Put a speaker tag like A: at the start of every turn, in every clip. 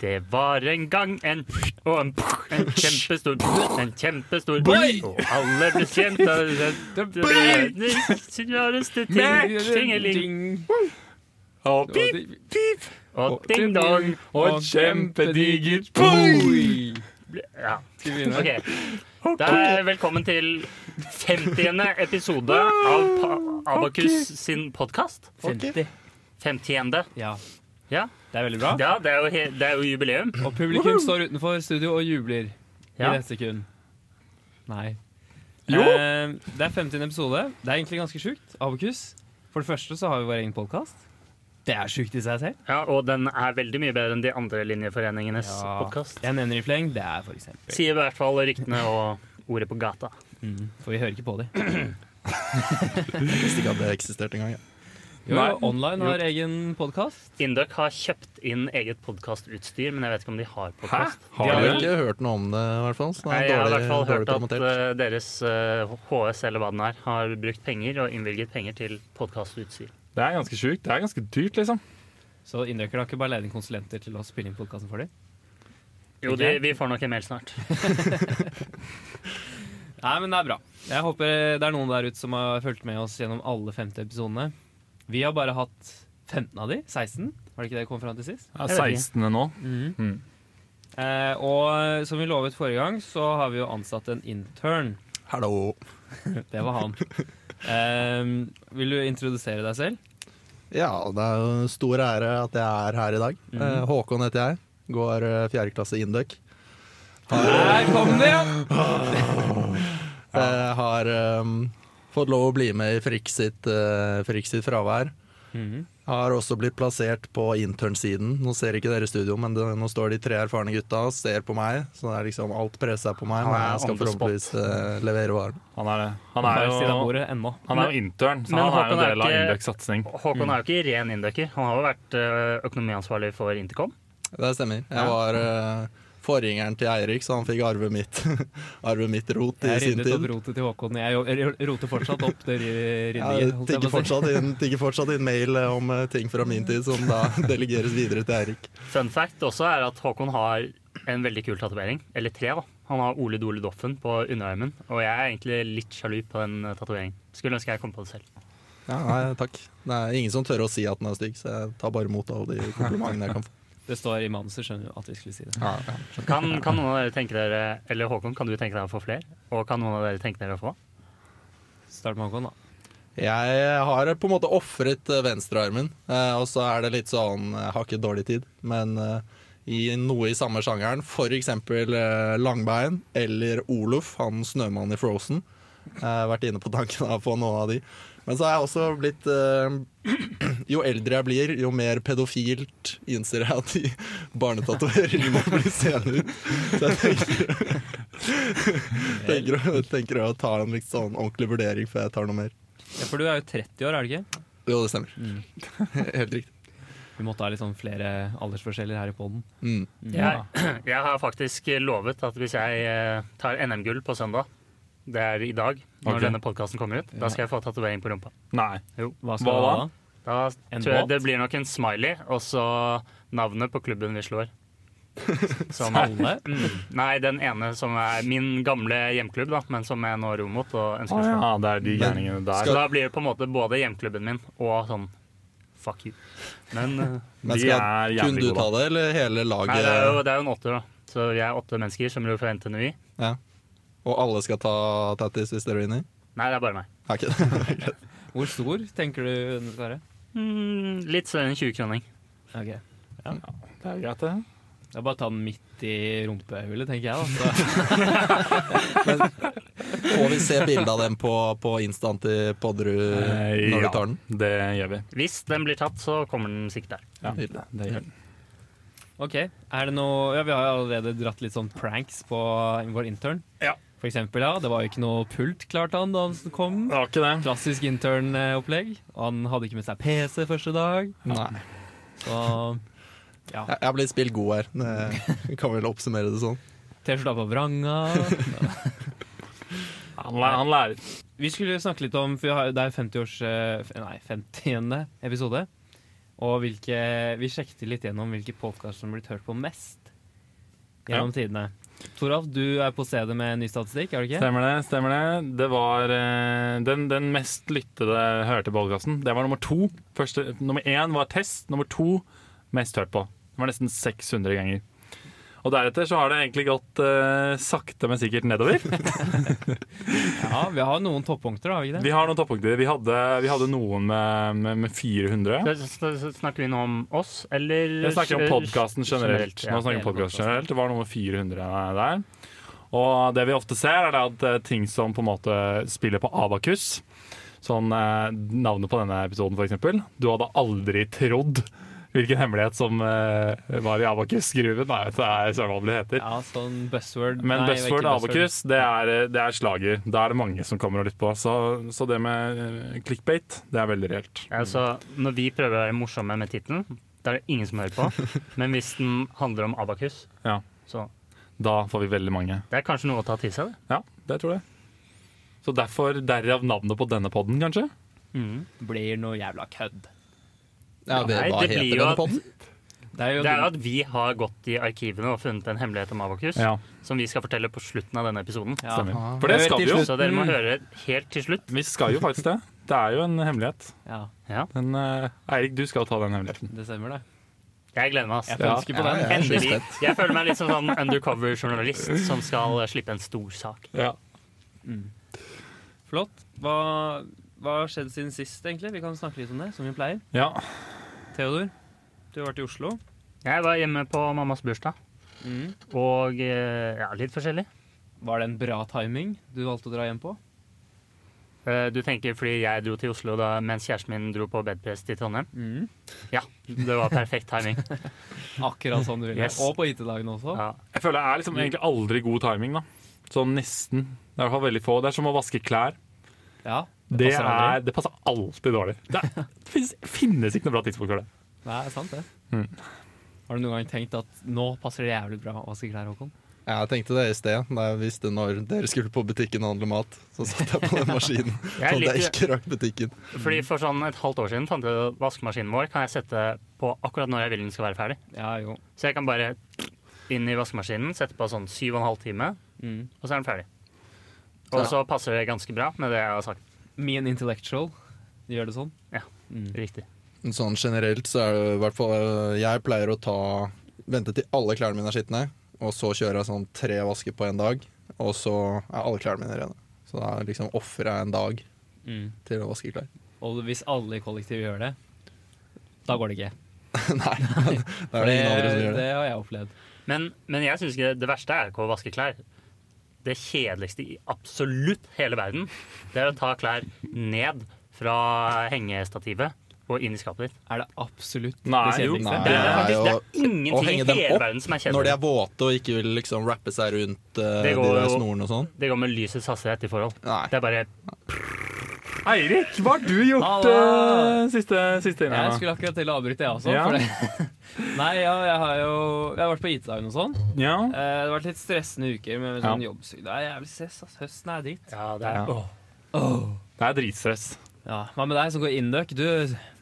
A: Det var en gang en og en, en kjempestor En kjempestor
B: Boing!
A: Og alle ble kjent av det. Det
B: Boing!
A: rareste ting. Tingeling og pip og ding-dong.
B: Og et kjempedigert boi!
A: Ja.
B: Skal vi begynne?
A: Ok. Da er velkommen til 50. episode av Pa- Abakus sin podkast.
C: 50.
A: 50.
C: Ja,
A: Ja.
C: det er veldig bra.
A: ja, det er jo, he det er jo jubileum.
C: Og publikum står utenfor studio og jubler
A: Ja.
C: i neste sekund. Nei.
B: Jo.
C: Eh, det er 50. episode. Det er egentlig ganske sjukt. Abokus. For det første så har vi vår egen podkast. Det er sjukt i seg selv.
A: Ja, og den er veldig mye bedre enn de andre linjeforeningenes
C: Ja.
A: podkast.
C: Jeg nevner i fleng. Det er for eksempel.
A: Sier i hvert fall ryktene og ordet på gata.
C: Mm, for vi hører ikke på dem.
B: Visste ikke at det eksisterte engang. Ja.
C: Jo,
B: Nei.
C: Online har egen podkast.
A: Induc har kjøpt inn eget podkastutstyr, men jeg vet ikke om de har podkast.
B: Har
A: Ja,
B: du
A: ja.
B: ikke hørt noe om det, i hvert fall? Så det
A: Nei,
B: er
A: Jeg har i
B: dårlig,
A: hvert fall hørt
B: dårlig
A: at
B: promotert.
A: eh, deres eh, HS eller hva den er, har brukt penger og innvilget penger til podkastutstyr.
D: Det er ganske sjukt. Det er ganske dyrt, liksom.
C: Så innrøkker har ikke bare leid inn konsulenter til å spille inn podkasten for dem.
A: Jo, de, vi får nok en mail snart.
C: Nei, men det er bra. Jeg håper det er noen der ute som har fulgt med oss gjennom alle 50 episodene. Vi har bare hatt 15 av de. 16, var det ikke det vi kom fram til sist?
D: Det
A: Jeg
D: er
A: vet ikke.
D: 16. nå. Mm.
C: Eh, og som vi lovet forrige gang, så har vi jo ansatt en intern.
B: Hallo.
C: Det var han. Eh, vil du introdusere deg selv?
B: Ja, det er jo en stor ære at jeg er her i dag.
A: Mhm.
B: Eh, Håkon heter jeg. Går eh, fjerde klasse Induc.
C: Der kom det! ja!
B: Jeg Eh, har ehm, fått lov å bli med i Frikk sitt, eh, Frikk sitt fravær.
C: Mhm.
B: Har også blitt plassert på intern-siden. Nå ser ikke dere studio, men det, nå står de tre erfarne gutta og ser på meg. Så det er liksom alt presset er på meg, men
A: Han er
B: jeg skal
A: on the spot.
B: forhåpentligvis eh, levere varen.
D: Han er, han
C: Bare
D: er
C: si deg
D: jo
C: bordet ennå.
D: han er jo intern, så
A: Men
D: han er jo
A: Håkon er
D: del av
A: ikke-
D: Inducs satsing.
A: Håkon er jo ikke ren Inducer. Han har jo vært eh, økonomiansvarlig for Intercom.
B: Det stemmer. Jeg var eh, forgjengeren til Eirik, så han fikk arve mitt, arve mitt rot i
C: Jeg
B: sin
C: ryddet opp
B: tid.
C: rotet til Håkon. Jeg jo- Jeg roter fortsatt opp det ry-
B: Jeg
C: ryddingen. holdt jeg
B: tigger
C: på å si.
B: fortsatt, inn- tigger fortsatt inn mail eh, om eh, ting fra min tid som da delegeres videre til Eirik.
A: Fun fact også er at Håkon har en veldig kul tatovering. Eller tre, da. Han har Ole Dole Doffen på underarmen, og jeg er egentlig litt sjalu på den eh, tatoveringen. Skulle ønske jeg kom på det selv.
B: Ja, nei, takk. Det er ingen som tør å si at den er stygg, så jeg tar bare imot alle de komplimentene jeg kan få.
C: Det står i manuset, skjønner du, at vi skulle si det.
A: Kan, kan noen av dere tenke dere Eller Håkon, kan du tenke deg å få flere? Og kan noen av dere tenke dere å få?
C: Start med Håkon, da.
B: Jeg har på en måte ofret eh, venstrearmen, eh, og så er det litt sånn Jeg har ikke dårlig tid, men eh, i noe i samme sjangeren, f.eks. Langbein eller Olof, han snømannen i Frozen. Jeg har vært inne på tanken av å få noen av de. Men så har jeg også blitt eh, Jo eldre jeg blir, jo mer pedofilt innser jeg at de barnetatoveringene må bli seende ut. Så jeg tenker, tenker, å- tenker å ta en litt sånn ordentlig vurdering før jeg tar noe mer.
C: Ja, for du er jo 30 år, er du ikke?
B: Jo, det stemmer. Mm. Helt riktig.
C: Vi måtte ha litt sånn flere aldersforskjeller her i poden.
B: Mm.
A: Jeg, jeg har faktisk lovet at hvis jeg eh, tar NM-gull på søndag, det er i dag, når
D: Ok.
A: denne podkasten kommer ut, da skal jeg få tatovering på rumpa.
D: Nei.
C: Hva
D: Hva
C: skal du ha
D: da?
C: da?
A: Da
C: En
A: tror jeg
C: båt?
A: det blir nok en smiley, og så navnet på klubben vi slår. Som,
C: Alle?
A: mm, nei, den ene som er min gamle hjemklubb, da, men som jeg nå ror mot og ønsker
D: Å
A: å slå.
D: ja, Ah, det er de
B: Men-
D: gjerningene
A: Så
D: der.
A: Altså, da blir det på en måte både hjemklubben min og sånn fuck you. Men eh,
B: Men
D: De
B: skal
D: er
B: kun
D: jævlig
B: du ta
D: gode.
B: det, eller hele laget?
A: nei, det er, jo, det er jo en åtter, da. Så vi er åtte mennesker som ror fra NTNUI.
B: Ja. Og alle skal ta tattis hvis dere vinner?
A: Nei, det er bare meg.
B: Ja, ikke det.
C: Hvor stor tenker du den skal være?
A: Mm, litt større enn 20-kroning.
C: Ok.
D: Da. Det er greit, det.
C: Jeg bare tar den midt i rumpehullet, tenker jeg. da. Så-
B: Får vi se bilde av dem på, på Instant i Podderud
D: Eh,
B: når
D: ja.
B: vi tar den?
D: Det gjør vi.
A: Hvis den blir tatt, så kommer den sikkert der.
D: Ja, det
B: Nydelig.
D: gjør vi.
C: Ok, er det noe Ja, vi har jo allerede dratt litt sånn pranks på vår intern.
D: Ja.
C: For eksempel, ja. Det var jo ikke noe pult klart han da han kom.
D: Det var ikke det.
C: Klassisk intern-opplegg. Han hadde ikke med seg PC første dag.
B: Nei.
C: Så ja.
B: Jeg jeg har blitt spilt god her. Det- Vi kan vel oppsummere det sånn.
C: T-skjorta på vranga.
D: Han, læ- han lærer.
C: Vi skulle snakke litt om, for vi har- det er 50 års, eh, f- nei, 50. episode. Og hvilke, vi sjekket litt gjennom hvilke podkaster som har blitt hørt på mest gjennom tidene. Toralf, du er på stedet med ny statistikk, er du ikke?
D: Stemmer det. stemmer Det Det var eh, den, den mest lyttede hørte podkasten. Det var nummer to. Første, nummer én var test. Nummer to mest hørt på. Det var nesten 600 ganger. Og deretter så har det egentlig gått eh, sakte, men sikkert nedover.
C: Ja, vi har noen toppunkter, har vi ikke det?
D: Vi har noen toppunkter. Vi hadde, vi hadde noen med, med, med 400.
A: S- s- s- Snakker vi nå om oss, eller
D: Jeg snakker om podkasten generelt.
A: ja.
D: Nå snakker jeg
C: hele
D: om podcasten
C: podcasten.
D: generelt. Det var nummer 400 der. Og det vi ofte ser, er det at eh, ting som på en måte spiller på Abakus Sånn eh, navnet på denne episoden, f.eks. Du hadde aldri trodd hvilken hemmelighet som eh, var i Abakus-gruven. Nei, vet du, det er søren hva det heter.
C: Ja, sånn buzzword.
D: Men
C: Nei, ikke
D: Buzzword og Abakus, det er, eh, det er slager. Da er det mange som kommer og lytter på. Så, så det med eh, clickbait, det er veldig reelt.
A: Ja, så når vi prøver å være morsomme med tittelen, da er det ingen som hører på. Men hvis den handler om abakus,
D: Ja.
A: så
D: Da får vi veldig mange.
A: det er kanskje noe å ta til seg. Det.
D: Ja, det tror jeg. Så derfor derav navnet på denne podden, kanskje?
C: Blir noe jævla kødd.
B: Ja, det,
A: Nei,
B: hva
A: det
B: heter
A: blir jo
B: denne
A: at-
B: podden?
C: Det er jo
A: det er at vi har gått i arkivene og funnet en hemmelighet om abakus,
D: Ja,
A: som vi skal fortelle på slutten av denne episoden.
C: Ja.
D: stemmer.
B: Ah.
D: For det
C: Helt
D: skal
C: til
D: vi jo.
C: slutt.
A: Så dere må
C: Mm.
A: høre helt til slutt.
D: Vi skal jo faktisk det. Det er jo en hemmelighet.
C: Ja,
A: Ja,
D: Men eh, Eirik, du skal jo ta den hemmeligheten.
C: det stemmer, det.
A: jeg gleder meg. ass.
C: Jeg
D: Ja.
C: ønsker på den.
B: Ja, ja.
A: Endelig. Jeg føler meg litt som sånn undercover-journalist som skal eh, slippe en stor sak.
D: Ja.
C: Flott. Hva, hva har skjedd siden sist, egentlig? Vi kan snakke litt om det, som vi pleier.
D: ja.
C: Theodor, du har vært i Oslo.
A: Jeg var hjemme på mammas bursdag,
C: Mm.
A: og eh, ja, litt forskjellig.
C: Var det en bra timing du valgte å dra hjem på?
A: Eh, Du tenker fordi jeg dro til Oslo da, mens kjæresten min dro på bedprest i Trondheim?
C: Mm.
A: Ja, det var perfekt timing.
C: Akkurat som du ville.
A: Yes.
C: Og på IT-dagen også.
A: Ja.
D: Jeg føler det er liksom egentlig aldri god timing, da. Sånn nesten. Det er i hvert fall veldig få. Det er som å vaske klær.
C: Ja,
D: Det,
C: passer aldri.
D: er, det passer alltid dårlig. Det, er, det finnes, finnes ikke noe bra tidspunkt for det.
C: det er sant, det.
D: Mm.
C: Har du noen gang tenkt at nå passer det jævlig bra å vaske klær, Håkon?
B: Ja, Jeg tenkte det i sted, da jeg visste når dere skulle på butikken og handle mat. Så satt jeg på den maskinen,
A: Jeg
B: sånn at jeg
A: liker-
B: ikke rakk butikken.
A: Fordi For sånn et halvt år siden fant jeg ut at vaskemaskinen vår kan jeg sette på akkurat når jeg vil den skal være ferdig.
C: Ja, jo.
A: Så jeg kan bare inn i vaskemaskinen, sette på sånn syv og en halv time,
C: Mm.
A: og så er den ferdig. Og så passer det ganske bra med det jeg har sagt.
C: Me and intellectual gjør det sånn.
A: Ja.
C: Mm.
A: Riktig.
B: Sånn generelt så er det i hvert fall eh, Jeg pleier å ta vente til alle klærne mine er skitne, og så kjører jeg sånn tre vasker på en dag, og så er alle klærne mine rene. Så da liksom ofrer jeg en dag
C: Mm.
B: til å vaske klær.
C: Og hvis alle i kollektivet gjør det, da går det ikke.
B: Nei, men det er
C: For
B: det ingen andre som gjør det.
C: har jeg opplevd.
A: Men, men jeg syns ikke det verste er ikke å vaske klær. Det kjedeligste i absolutt hele verden, det er å ta klær ned fra hengestativet og inn i skapet ditt.
C: Er det absolutt
D: Nei,
C: det
D: jo.
C: kjedeligste?
B: Nei,
A: Det er,
B: det er
A: faktisk, det
B: jo
A: er
B: å
A: ingenting
B: henge
A: i
B: dem
A: hele
B: opp
A: verden som er
B: Når de er
A: kjedelig.
B: våte og ikke vil liksom rappe seg rundt eh,
A: Det
B: de
A: går
B: der
A: jo-
B: snorene og sånn.
A: Det går med lysets hastighet i forhold.
B: Nei.
A: Det er bare
D: Eirik, hva har du gjort
C: Halla!
D: eh, siste, siste
C: Jeg
D: innlegg?
C: skulle akkurat til å avbryte, jeg også.
D: Ja.
C: For det. Nei, ja, jeg har jo jeg har vært på IT-dagen og sånn.
D: da? Ja.
C: Eh, Det har vært litt stressende uker med
D: Ja.
C: sånn jobbsykdom. Det er jævlig stress. ass. Høsten er dritt.
A: Ja, det er
D: Ja. Det er dritstress.
C: Ja, Hva med deg som går indøk? Du,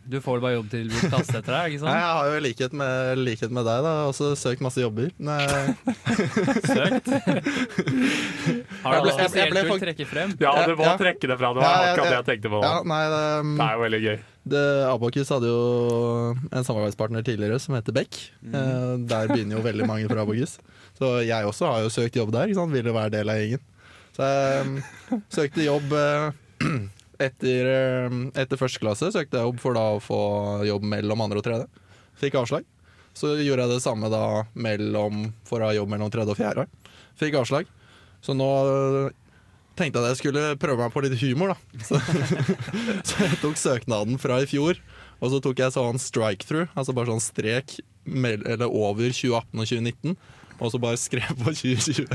C: du får bare jobb til kaste etter deg, ikke
A: Sånn.
B: Nei,
C: sant?
B: jeg har jo i likhet med, likhet med deg, da. Også søkt masse jobber. eh, Nei,
C: Søkt. Har du
B: Jeg ble-
C: noe
B: jeg- jeg
C: spesielt
B: ble
C: du vil
B: fak-
C: trekke frem?
D: Ja,
B: Ja,
D: du må
B: ja.
D: trekke det fra. Det var
B: Ja, ja,
D: akkurat det
B: ja.
D: jeg tenkte på.
B: ja, nei det, mm,
D: Det er jo veldig gøy.
B: det, Abakus hadde jo en samarbeidspartner tidligere som heter Beck. Eh, der begynner jo veldig mange fra Abakus. Så jeg også har jo søkt jobb der. Ikke sant? Ville være del av gjengen. Så jeg mm, søkte jobb eh, etter, eh, etter første klasse. Søkte jeg jobb for da å få jobb mellom andre og tredje. Fikk avslag. Så gjorde jeg det samme da mellom, for å ha jobb mellom tredje og fjerde. Fikk avslag. Så nå øh, tenkte jeg at jeg skulle prøve meg på litt humor, da. Så, så jeg tok søknaden fra i fjor, og så tok jeg sånn strike-through, altså bare sånn strek mell- eller over 2018 og 2019, og så bare skrev på 2020.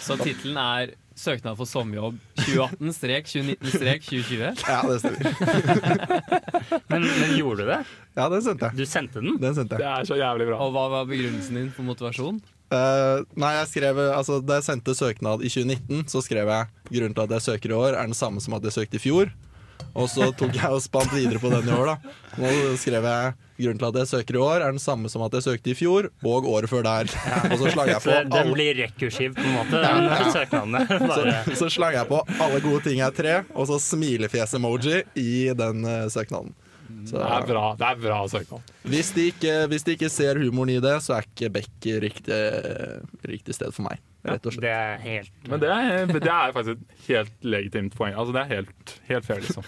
C: Så tittelen er 'Søknad for sommerjobb 2018-2019-2020'.
B: Ja, det stemmer.
A: Men, men gjorde du det?
B: Ja, den sendte jeg.
A: Du sendte den?
B: Den sendte jeg.
D: Det er så jævlig bra.
C: Og hva var begrunnelsen din for motivasjon?
B: Eh, nei, jeg skrev, altså, da jeg sendte søknad i 2019, så skrev jeg grunnen til at jeg søker i år, er den samme som at jeg søkte i fjor. Og så tok jeg og spant videre på den i år, da. Nå skrev jeg grunnen til at jeg søker i år, er den samme som at jeg søkte i fjor, og året før der. Og så slang jeg på
A: Så den
B: alle,
A: blir rekursiv på en måte, den søknaden. Bare.
B: så, så slang jeg på alle gode ting er tre, og så smilefjes-emoji i den eh, søknaden. Så
D: Det er bra, det er bra søknad.
B: hvis de, ikke, hvis de ikke ser humoren i det, så er ikke Beck riktig, eh, riktig sted for meg. Rett og slett.
A: Det er helt
D: Men det er, det er faktisk et helt legitimt poeng. Altså, det er helt, helt fair, liksom.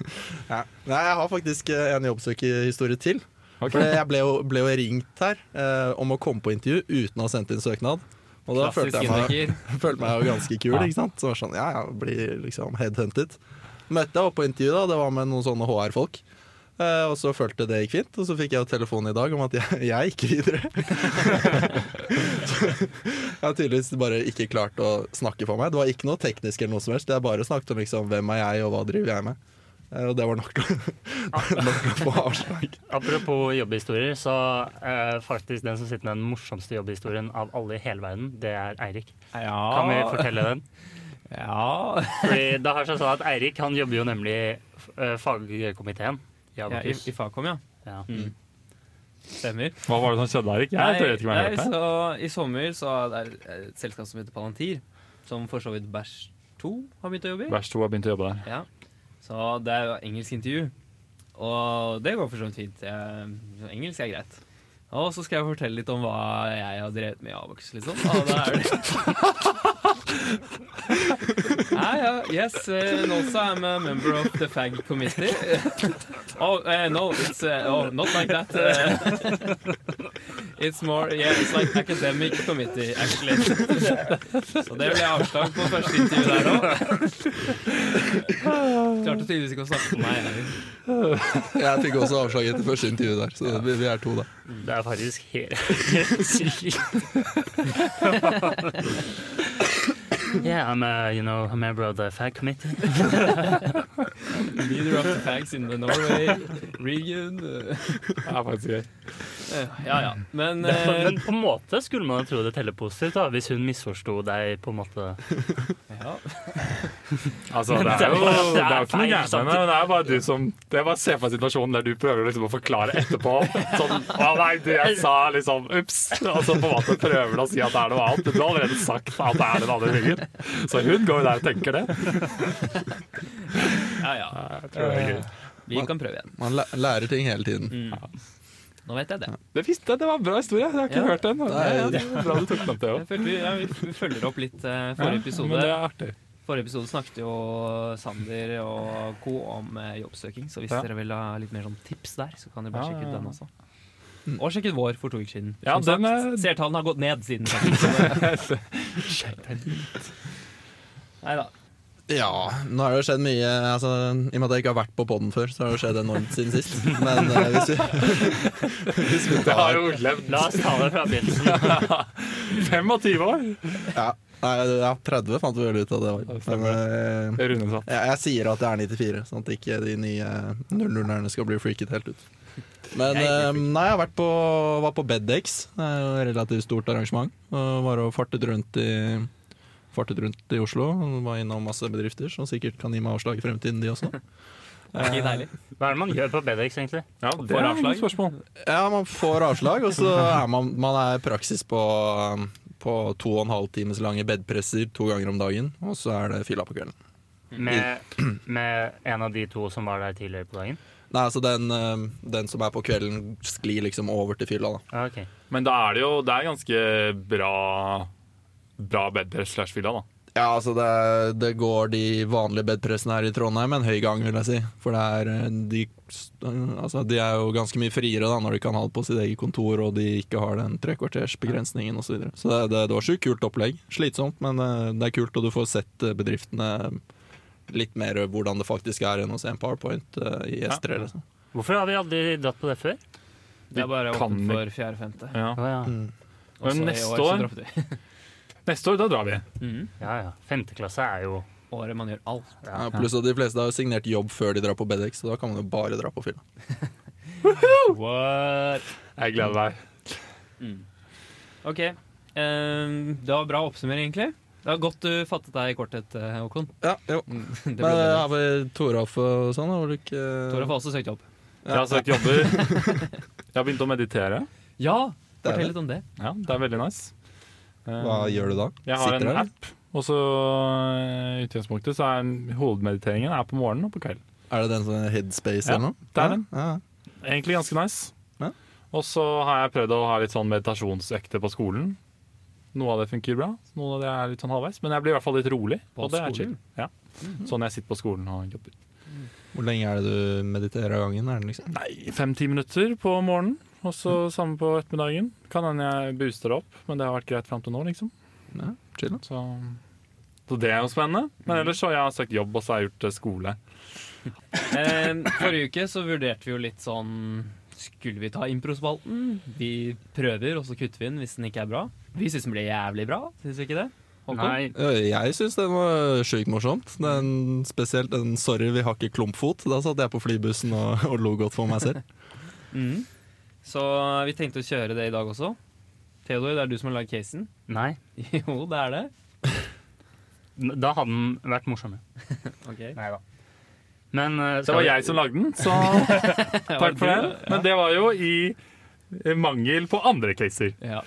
B: Ja. Nei, jeg har faktisk eh, en jobbsøkerhistorie til.
D: Ok.
B: For jeg ble jo, ble jo ringt her eh, om å komme på intervju uten å ha sendt inn søknad. Og da følte
C: Klassisk
B: jeg meg,
C: inneker.
B: følte meg jo ganske kul, ikke sant? Så var det sånn, ja, jeg blir liksom headhuntet. Møtte jeg opp på intervju da, det var med noen sånne HR-folk. Eh, og så følte det gikk fint, og så fikk jeg jo telefon i dag om at jeg, jeg gikk videre. så jeg har tydeligvis bare ikke klart å snakke for meg. Det var ikke noe teknisk eller noe som helst, jeg bare snakket om liksom, hvem er jeg og hva driver jeg med. Eh, og det var nok til å- nok til å få avslag.
A: Apropos jobbhistorier, så eh, faktisk den som sitter med den morsomste jobbhistorien av alle i hele verden, det er Eirik. Kan vi
B: Ah.
C: Ja.
A: fortelle den?
C: ja.
A: Fordi det har seg sånn at Eirik han jobber jo nemlig i eh, fagkomiteen. i
C: ja i,
A: Abakus.
C: I Fagkom, ja.
A: Ja.
B: mm.
C: Stemmer.
D: Hva var det som skjedde, Erik? Jeg vet ikke hva jeg
C: Nei,
D: hørte.
C: så I sommer så er det et selskap som heter Palantir, som for så vidt Bæsj 2 har begynt å jobbe i.
D: Vers to har begynt å jobbe der.
C: Ja. Så det er jo engelsk intervju. Og det går for så vidt fint. Jeg, engelsk er greit. Og så skal jeg fortelle litt om hva jeg har drevet med i Avox, liksom. Og da er det Nei, ja, yes, uh, and also I'm a member of the FAG committee. oh, eh, no, it's eh, oh, not like that. eh. it's more, yeah, it's like academic committee, actually. Så det ble avslag på første intervju der nå. Klarte tydeligvis ikke å snakke med meg. heller.
B: Jeg fikk også avslag etter første intervju der, så vi, vi er to da.
A: Det er faktisk helt sykt. Yeah, I'm a, you know, a member of the fag committee.
C: Leader of the fags in the Norway region.
D: Det er faktisk gøy.
C: Ja, ja. Men eh,
A: Men på en måte skulle man tro det teller positivt, da, hvis hun misforsto deg på en måte.
C: ja.
D: Altså,
A: Men
D: det
A: det
D: er
A: er
D: jo,
A: bare-
D: det er jo ikke noe
A: feil,
D: gærent med det, men det er bare du som Det er bare se på situasjonen der du prøver liksom å forklare etterpå. Sånn Å nei, du, jeg sa liksom ups. Og så på en måte prøver du å si at det er noe annet. Men du har allerede sagt at det er den andre ryggen. Så hun går jo der og tenker det.
C: ja, ja.
D: Jeg tror det er gøy.
C: Vi kan prøve igjen.
B: Man læ- lærer ting hele tiden.
C: Nå vet jeg det.
D: Det visste jeg, det var en bra historie. Jeg har ikke
C: Ja.
D: hørt den. Det
B: Nei.
D: er- det er bra du tok den opp, det
C: Jeg
D: òg.
C: følte vi, ja, vi følger opp litt eh,
D: Ja,
C: forrige
D: men
C: episode.
D: det er artig.
C: Forrige episode snakket jo Sander og co. om eh, jobbsøking, så hvis
D: Ja.
C: dere vil ha litt mer sånn tips der, så kan dere bare
D: Ja,
C: sjekke
D: ja,
C: ut
D: ja.
C: den også. Og sjekk ut vår for to uker siden.
D: Ja,
C: Som
D: den
C: sagt,
D: er-
C: Seertallene har gått ned siden. Nei da.
B: Ja, nå har det jo skjedd mye altså, I og med at jeg ikke har vært på podden før, så har det skjedd enormt siden sist. Men eh, hvis, vi, hvis vi
D: Det har
B: tar
D: jo levd
A: La oss ta det fra begynnelsen.
D: 25 år.
B: ja, nei, ja, 30 fant vi vel ut av det var. Men eh,
D: Runde satt.
B: jeg, jeg sier at det er 94, sånn at ikke de nye 00-erne skal bli freaket helt ut. Men
C: Jeg er
B: eh, nei, jeg har vært på, var på Beddex, det er jo et relativt stort arrangement. Og var og fartet rundt i Fartet rundt i Oslo. og Var innom masse bedrifter som sikkert kan gi meg avslag i fremtiden, de også.
C: Var ikke deilig?
D: Eh,
A: Hva er det man gjør på Bedex, egentlig?
D: Ja, det er et godt spørsmål.
B: Ja, man får avslag, og så er man, man er i praksis på, på to og en halv times lange bedpresser to ganger om dagen, og så er det fylla på kvelden.
A: Med, med en av de to som var der tidligere på dagen?
B: Nei, altså den, eh, den som er på kvelden sklir liksom over til fylla, da.
A: Ah, ok.
D: Men da er det jo det er ganske bra Bra bedpress slash fylla, da.
B: Ja, altså det, det går de vanlige bedpressene her i Trondheim en høy gang, vil jeg si. For det er eh, de, altså de er jo ganske mye friere da når de kan ha det på sitt eget kontor og de ikke har den trekvartersbegrensningen osv. Så, videre. så det, det, det var sjukt kult opplegg. Slitsomt, men eh, det er kult, og du får sett eh, bedriftene litt mer hvordan det faktisk er enn å se en powerpoint eh, i S3.
D: Ja.
B: Liksom.
A: Hvorfor har vi aldri dratt på det før?
C: Det er bare
D: kan
C: åpent
D: ikke-
C: for fjerde-femte.
D: Ja.
A: Å ja.
D: Men neste år- Neste år, da drar vi.
C: Mhm.
A: ja ja. Femteklasse er jo
C: Året man gjør alt.
B: Ja, pluss at de fleste har jo signert jobb før de drar på Bedex, så da kan man jo bare dra på fylla.
D: Jeg gleder meg.
C: Mm. OK. ehm, det var bra oppsummering, egentlig. Det var godt du fattet deg i korthet, eh, Håkon. Mm,
B: Ja, jo.
C: Det
B: Men eh,
C: ble det.
B: har vi Toralf og sånn? Har du ikke
C: Toralf har også søkt jobb.
D: Jeg har søkt jobber. Jeg har begynt å meditere.
C: Ja,
B: Det er
C: fortell
B: det.
C: litt om det.
D: Ja, det er veldig nice. Eh,
B: Hva gjør du da?
D: Jeg har
B: Sitter
D: en
B: der?
D: app, og så eh, i utgangspunktet så er hovedmediteringen er på morgenen og på kvelden.
B: Er det den som er Headspace
D: Ja,
B: eller noe?
D: det er den.
B: Ja, ja.
D: Egentlig ganske nice.
B: Ja.
D: Og så har jeg prøvd å ha litt sånn meditasjonsøkter på skolen. Noe av det funker bra, noe av det er litt sånn halvveis. Men jeg blir i hvert fall litt rolig.
C: På
D: og det er
C: skolen?
D: chill. Ja. Sånn jeg sitter på skolen og jobber.
B: Hvor lenge er det du mediterer av gangen? Er det liksom?
D: Nei, fem-ti minutter på morgenen, og så samme på ettermiddagen. Kan hende jeg booster det opp, men det har vært greit fram til nå, liksom.
B: Ja, chill, da.
D: Så, så det er jo spennende. Men ellers så har jeg søkt jobb, og så har jeg gjort eh, skole.
C: Eh, forrige uke så vurderte vi jo litt sånn Skulle vi ta improspalten? Vi prøver, og så kutter vi den hvis den ikke er bra. Vi syns den ble jævlig bra, syns vi ikke det? Håkon?
A: Nei,
B: Ja, Øh, Jeg syns den var sjukt morsomt. Den, spesielt den 'Sorry, vi har ikke klumpfot'. Da satt jeg på flybussen og, og lo godt for meg selv.
C: Mhm. Så vi tenkte å kjøre det i dag også. Theodor, det er du som har lagd casen.
A: nei.
C: Jo, det er det.
A: Da hadde den vært morsommere. Nei da. Men eh,
D: Det
A: skal
D: var
A: vi-
D: jeg som lagde den, så takk for det. Men det var jo i eh, mangel på andre caser.
C: Ja.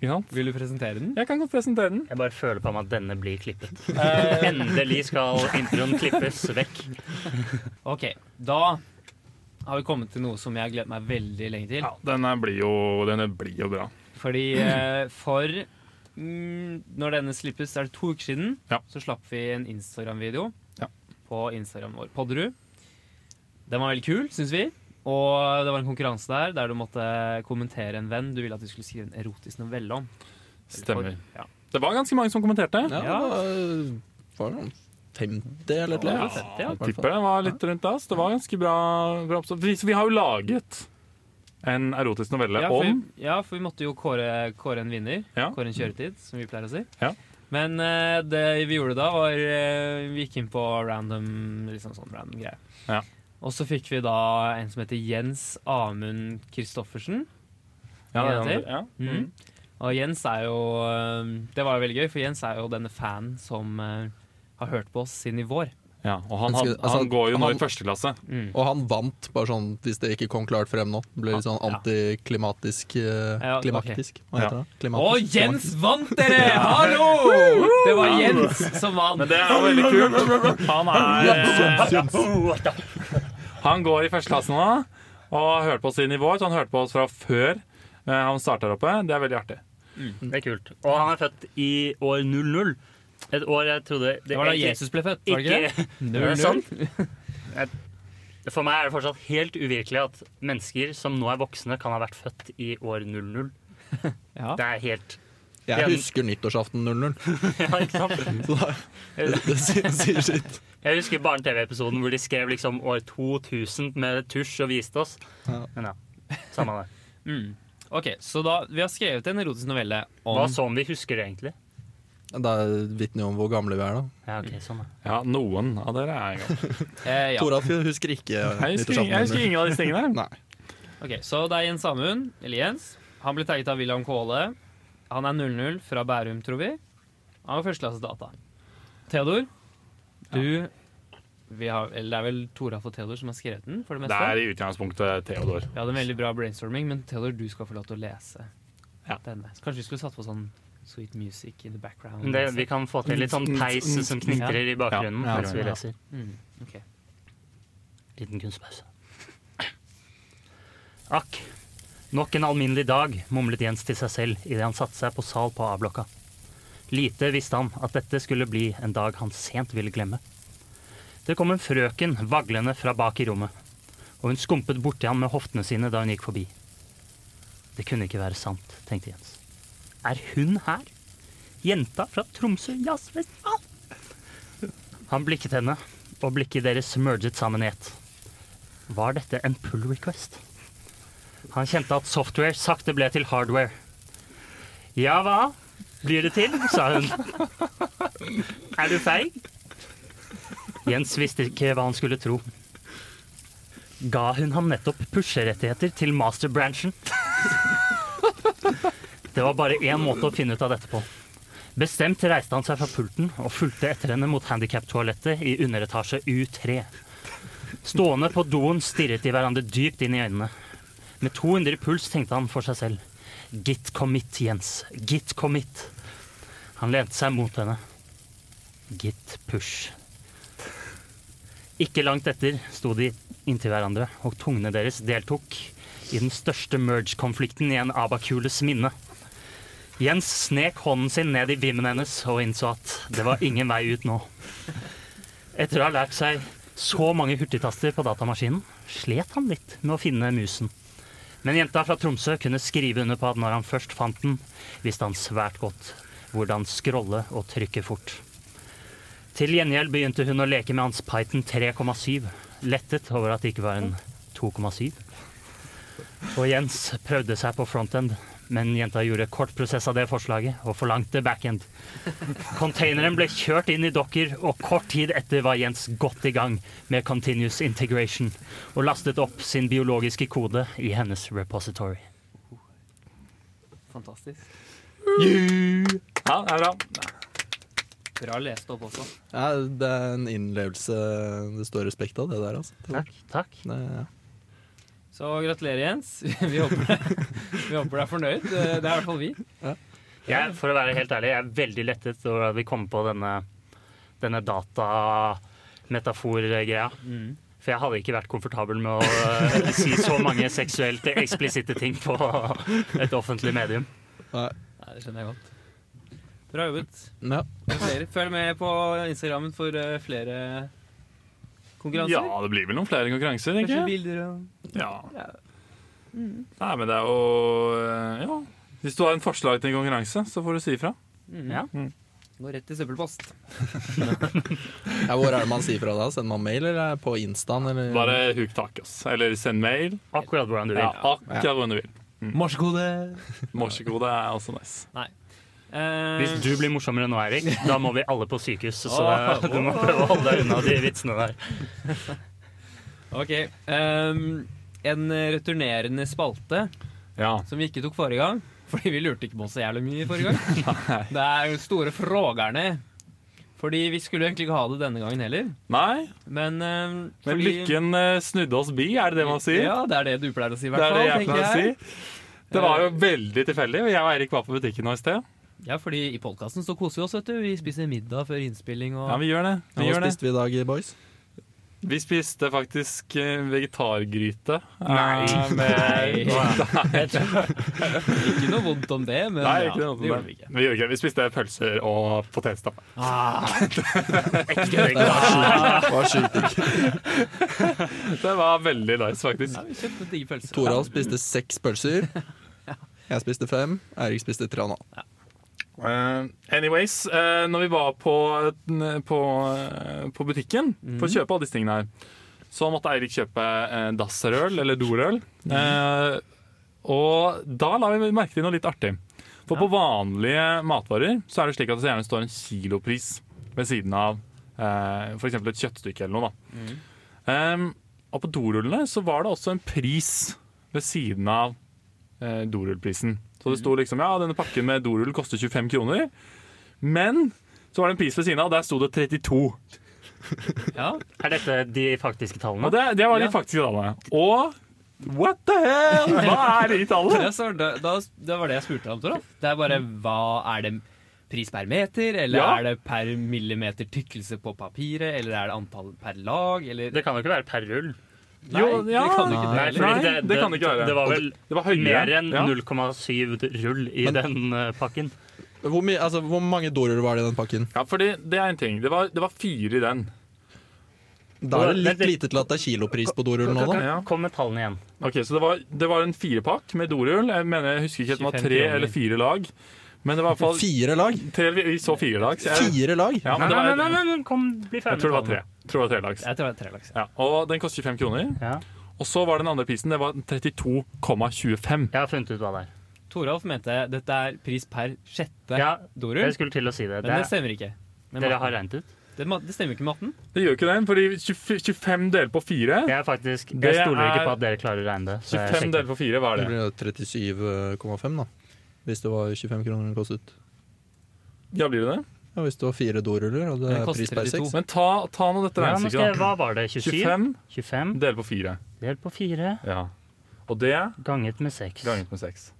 D: Ikke sant?
C: Vil du presentere den?
D: Jeg kan godt presentere den.
A: Jeg bare føler på meg at denne blir klippet. Endelig skal introen klippes vekk.
C: Ok, da har vi kommet til noe som jeg har gledet meg veldig lenge til.
D: Ja, denne blir jo, denne blir jo bra.
C: Fordi eh, for mm, Når denne slippes, er det to uker siden,
D: Ja.
C: så slapp vi en Instagram-video
D: Ja.
C: på Instagram vår, Podderud. Den var veldig kul, syns vi. Og det var en konkurranse der der du måtte kommentere en venn du ville at du skulle skrive en erotisk novelle om.
D: Stemmer.
C: Ja.
D: Det var ganske mange som kommenterte.
B: Ja,
C: Ja.
B: Det var det 50 eller et eller
C: Ja,
B: annet.
C: ja.
D: Jeg tipper det var litt rundt da, så det var ganske bra. bra oppstå- vi, så vi har jo laget en erotisk novelle
C: Ja, for,
D: om
C: vi- ja, for vi måtte jo kåre, kåre en vinner.
D: Ja.
C: Kåre en kjøretid, som vi pleier å si.
D: Ja.
C: Men eh, det vi gjorde da, var eh, Vi gikk inn på random liksom sånn random greier.
D: Ja.
C: Og så fikk vi da en som heter Jens Amund Christoffersen.
D: ja, det er
C: Jenter.
D: andre- ja.
C: Mhm. Og Jens er jo eh, Det var jo veldig gøy, for Jens er jo denne fanen som eh, har hørt på oss siden i vår.
D: ja, og han,
B: Ganske-
D: han,
B: altså,
D: han går jo nå
B: han-
D: i første klasse.
C: Mm.
B: Og han vant, bare sånn hvis det ikke kom klart frem nå. Det ble litt sånn
C: Ja.
B: antiklimatisk eh,
C: Ja, ok.
B: Klimaktisk, hva heter det?
C: Og
B: Klimatisk.
C: Jens vant, dere! Hallo! Det var Jens som vant.
D: Men det er jo veldig kult. Han, er, han går i første klasse nå og har hørt på oss siden i vår, så han hørte på oss fra før eh, han starta her oppe. Det er veldig artig.
A: Det er kult. Og han er født i år 00. Et år jeg trodde
C: Det var da
A: egentlig
C: Jesus ble født, var det ikke det?
A: ikke
C: Null,
A: Er det
C: null.
A: For meg er det fortsatt helt uvirkelig at mennesker som nå er voksne, kan ha vært født i år 00.
C: Ja.
A: Det er helt
B: Jeg husker nyttårsaften 00.
A: Ja, ikke sant?
B: Så da, det sier sier sitt.
A: Jeg husker Barne-TV-episoden hvor de skrev liksom år 2000 med tusj og viste oss.
B: Ja.
A: Men ja, samme det.
C: Mm. Ok, så da, Vi har skrevet en erotisk novelle om
A: Hva så om vi husker det egentlig?
B: Det vitner jo om hvor gamle vi er, da.
A: Ja, ok, sånn da.
D: Ja, noen av dere er jo
C: eh, ja.
B: Toralf husker ikke
D: Jeg husker, jeg husker
B: nyttårsaften 00.
D: ingen av disse tingene.
B: Nei.
C: Ok, Så det er Jens Amund, eller Jens. Han ble tagget av William Kvåle. Han er 00 fra Bærum, tror vi. Han var førsteklasses data. Theodor, du vi har, eller Det er vel Toralf og Theodor som har skrevet den? for det
D: Det
C: meste.
D: er i utgangspunktet Theodor.
C: Vi hadde en veldig bra brainstorming, men Theodor, du skal få lov til å lese
D: Ja.
C: denne. Så kanskje vi skulle satt på sånn sweet music in the background.
A: Men det, vi kan få til litt sånn peis som knitrer i bakgrunnen
D: Ja, ja,
A: mens vi
D: ja.
A: leser.
C: Mm, ok.
A: Liten kunstpause. Akk, nok en alminnelig dag, mumlet Jens til seg selv idet han satte seg på sal på A-blokka. Lite visste han at dette skulle bli en dag han sent ville glemme. Det kom en frøken vaglende fra bak i rommet, og hun skumpet borti han med hoftene sine da hun gikk forbi. Det kunne ikke være sant, tenkte Jens. Er hun her? Jenta fra Tromsø jazzfestival? Han blikket henne, og blikket deres merget sammen i ett. Var dette en pull request? Han kjente at software sakte ble til hardware. Ja hva blir det til, sa hun. Er du feig? Jens visste ikke hva han skulle tro. Ga hun ham nettopp pusherettigheter til masterbranchen? Det var bare én måte å finne ut av dette på. Bestemt reiste han seg fra pulten og fulgte etter henne mot handikaptoalettet i underetasje U3. Stående på doen stirret de hverandre dypt inn i øynene. Med 200 i puls tenkte han for seg selv. Git commit, Jens. Git commit. Han lente seg mot henne. Git push. Ikke langt etter sto de inntil hverandre, og tungene deres deltok i den største merge-konflikten i en abakules minne. Jens snek hånden sin ned i vimmen hennes og innså at det var ingen vei ut nå. Etter å ha lært seg så mange hurtigtaster på datamaskinen, slet han litt med å finne musen. Men jenta fra Tromsø kunne skrive under på at når han først fant den, visste han svært godt hvordan scrolle og trykke fort. Til gjengjeld begynte hun å leke med hans Python 3,7, lettet over at det ikke var en 2,7. Og Jens prøvde seg på frontend, men jenta gjorde kort prosess av det forslaget og forlangte backend. Containeren ble kjørt inn i dokker, og kort tid etter var Jens godt i gang med Continuous Integration og lastet opp sin biologiske kode i hennes repository.
E: Fantastisk.
D: Ja, det er bra.
E: Bra lest opp også.
B: Ja, det er en innlevelse det står respekt av, det der, altså. Det,
A: Takk. Takk.
B: ja.
C: Så gratulerer, Jens. Vi håper, vi håper du er fornøyd. Det er i hvert fall vi.
A: Jeg, for å være helt ærlig, jeg er veldig lettet over at vi kom på denne, denne datametafor-greia. For jeg hadde ikke vært komfortabel med å eh, si så mange seksuelt eksplisitte ting på et offentlig medium.
B: Nei,
C: Nei, det skjønner jeg godt. Bra jobbet.
B: ja.
C: Gratulerer. Følg med på Instagrammen for eh, flere
D: Ja,
C: konkurranser.
D: det blir vel noen flere konkurranser,
C: Kanskje
D: tenker jeg.
C: bilder og
D: Ja.
C: Ja.
D: Nei, men det er jo eh, Ja. Hvis du har en forslag til en konkurranse, så får du si ifra.
A: Ja.
C: Gå rett i søppelpost.
B: ja, Hvor er det man sier fra da? Sender man mail, eller er det på Instaen? Eller?
D: Bare huk tak, ass. Eller send mail.
A: Akkurat hvordan du vil.
D: Ja, akkurat hvordan du vil.
A: Mm.
B: Morsekode!
D: Morsekode er også nice.
C: Eh,
A: Hvis du blir morsommere nå, Eirik, da må vi alle på sykehus. Så
C: Åh.
A: du må prøve å holde deg unna de vitsene der.
C: Ok. ehm, en returnerende spalte
D: Ja.
C: som vi ikke tok forrige gang. Fordi vi lurte ikke på så jævlig mye forrige gang. Det er jo store frågerne. Fordi vi skulle egentlig ikke ha det denne gangen heller.
D: Nei,
C: Men, ehm,
D: men
C: fordi-
D: lykken eh, snudde oss bi, er det det man sier?
C: Ja, det er det du pleier å si, i hvert
D: Det er det
C: fall.
D: jeg
C: tenker
D: pleier å
C: jeg.
D: si. Det var jo veldig tilfeldig. Jeg og Eirik var på butikken nå i sted.
C: Ja, fordi i podkasten så koser vi oss, vet du. Vi spiser middag før innspilling og
D: Ja, vi gjør det.
B: Ja,
D: Vi,
B: hva
D: gjør det.
B: spiste vi i dag, boys?
D: vi spiste faktisk eh, vegetargryte. eh,
A: Nei.
D: med-
C: Ikke noe vondt om det, men
D: Nei,
C: ja,
D: ikke noe
C: det gjorde
D: sånt.
C: vi
D: Vi,
C: ikke.
D: vi gjorde ikke det. Vi spiste pølser og potetstappe.
C: Ah,
A: Ekte vegetasjon.
B: Var sjukt digg.
D: Det var veldig nice, faktisk.
C: Ja, vi kjøpte digge pølser.
B: Toralf spiste seks pølser. Jeg spiste fem. Eirik spiste tre og en halv.
D: Eh, anyways, eh, når vi var på, på, på butikken for å kjøpe alle disse tingene her, så måtte Eirik kjøpe eh, dassrøl, eller dorøl. Eh, og da la vi merke til noe litt artig. For på vanlige matvarer så er det slik at det gjerne står en kilopris ved siden av eh, f.eks. et kjøttstykke eller noe. Da. Eh, og på dorullene så var det også en pris ved siden av eh, dorullprisen. Så det sto liksom ja, denne pakken med dorull koster 25 kroner. Men så var det en pris ved siden av, og der sto det 32.
C: Ja,
A: Er dette de faktiske
D: Og
A: tallene?
D: det, det var de
C: Ja.
D: faktiske tallene. Og what the hell? Hva er de tallene?
C: det, så, da, da, det var det jeg spurte om, Toralf. Det er bare hva er det pris per meter, eller
D: Ja.
C: er det per millimeter tykkelse på papiret, eller er det antall per lag, eller
A: Det kan jo ikke være per rull.
C: Nei,
D: Jo, ja.
C: det kan du ikke.
D: Nei,
C: heller.
D: fordi det- det kan det ikke være.
A: Det var vel
D: Det var høyere.
A: mer enn
D: Ja.
A: 0,7 rull i
B: Men-
A: den eh, pakken.
B: Hvor, mye- altså, hvor mange doruller var det i den pakken?
D: Ja, fordi det er en ting. Det var, det var fire i den.
B: Da er det litt lite til at det er kilopris på dorull nå, da.
D: Ja.
A: Kom med tallene igjen.
D: Ok, Så det var, det var en firepakk med dorull. Jeg mener, jeg husker ikke om det var
C: 25
D: tre
C: kroner.
D: eller fire lag. Men det var i hvert fall
B: Fire lag!
D: tre, Vi så fire lag. Så jeg,
B: Fire lag!
A: Nei,
D: ja, men det
A: nei,
D: var,
A: nei, nei, nei, kom, bli ferdig
D: jeg tror det
A: med
D: var tre. Jeg tror det var tre lag.
C: Jeg tror det er tre lags.
D: Ja, og den koster 25 kroner.
A: Ja.
D: Og så var den andre prisen, det var 32,25.
A: Jeg har funnet ut hva det er.
C: Toralf mente dette er pris per sjette
A: Ja,
C: dorull,
A: jeg skulle til å si det.
C: men
A: det
C: det
A: er,
C: stemmer ikke. Med
A: dere
C: matten.
A: har regnet ut?
C: det, ma- det stemmer ikke med matten.
D: Det gjør ikke den, fordi 25 25 delt på 4
A: Jeg, er faktisk,
D: Det
A: jeg stoler ikke
D: er-
A: på at dere klarer å regne det. Så jeg
D: 25
A: sjekker.
D: delt på 4, hva er
B: Det
D: det?
B: blir jo 37,5, da. Hvis det var 25 kroner den kostet.
D: Ja, blir det det?
B: Ja, hvis du har fire doruller og det
F: Den
B: er
F: koster
B: pris
F: 32.
B: per seks.
D: Men ta, ta nå dette
A: Ja, nå skal jeg,
D: regnestykket. da.
A: hva var det? 27?
D: 25
A: 25
D: delt på 4.
A: delt på 4
D: Ja. Og det
A: ganget med 6.
D: ganget med 6.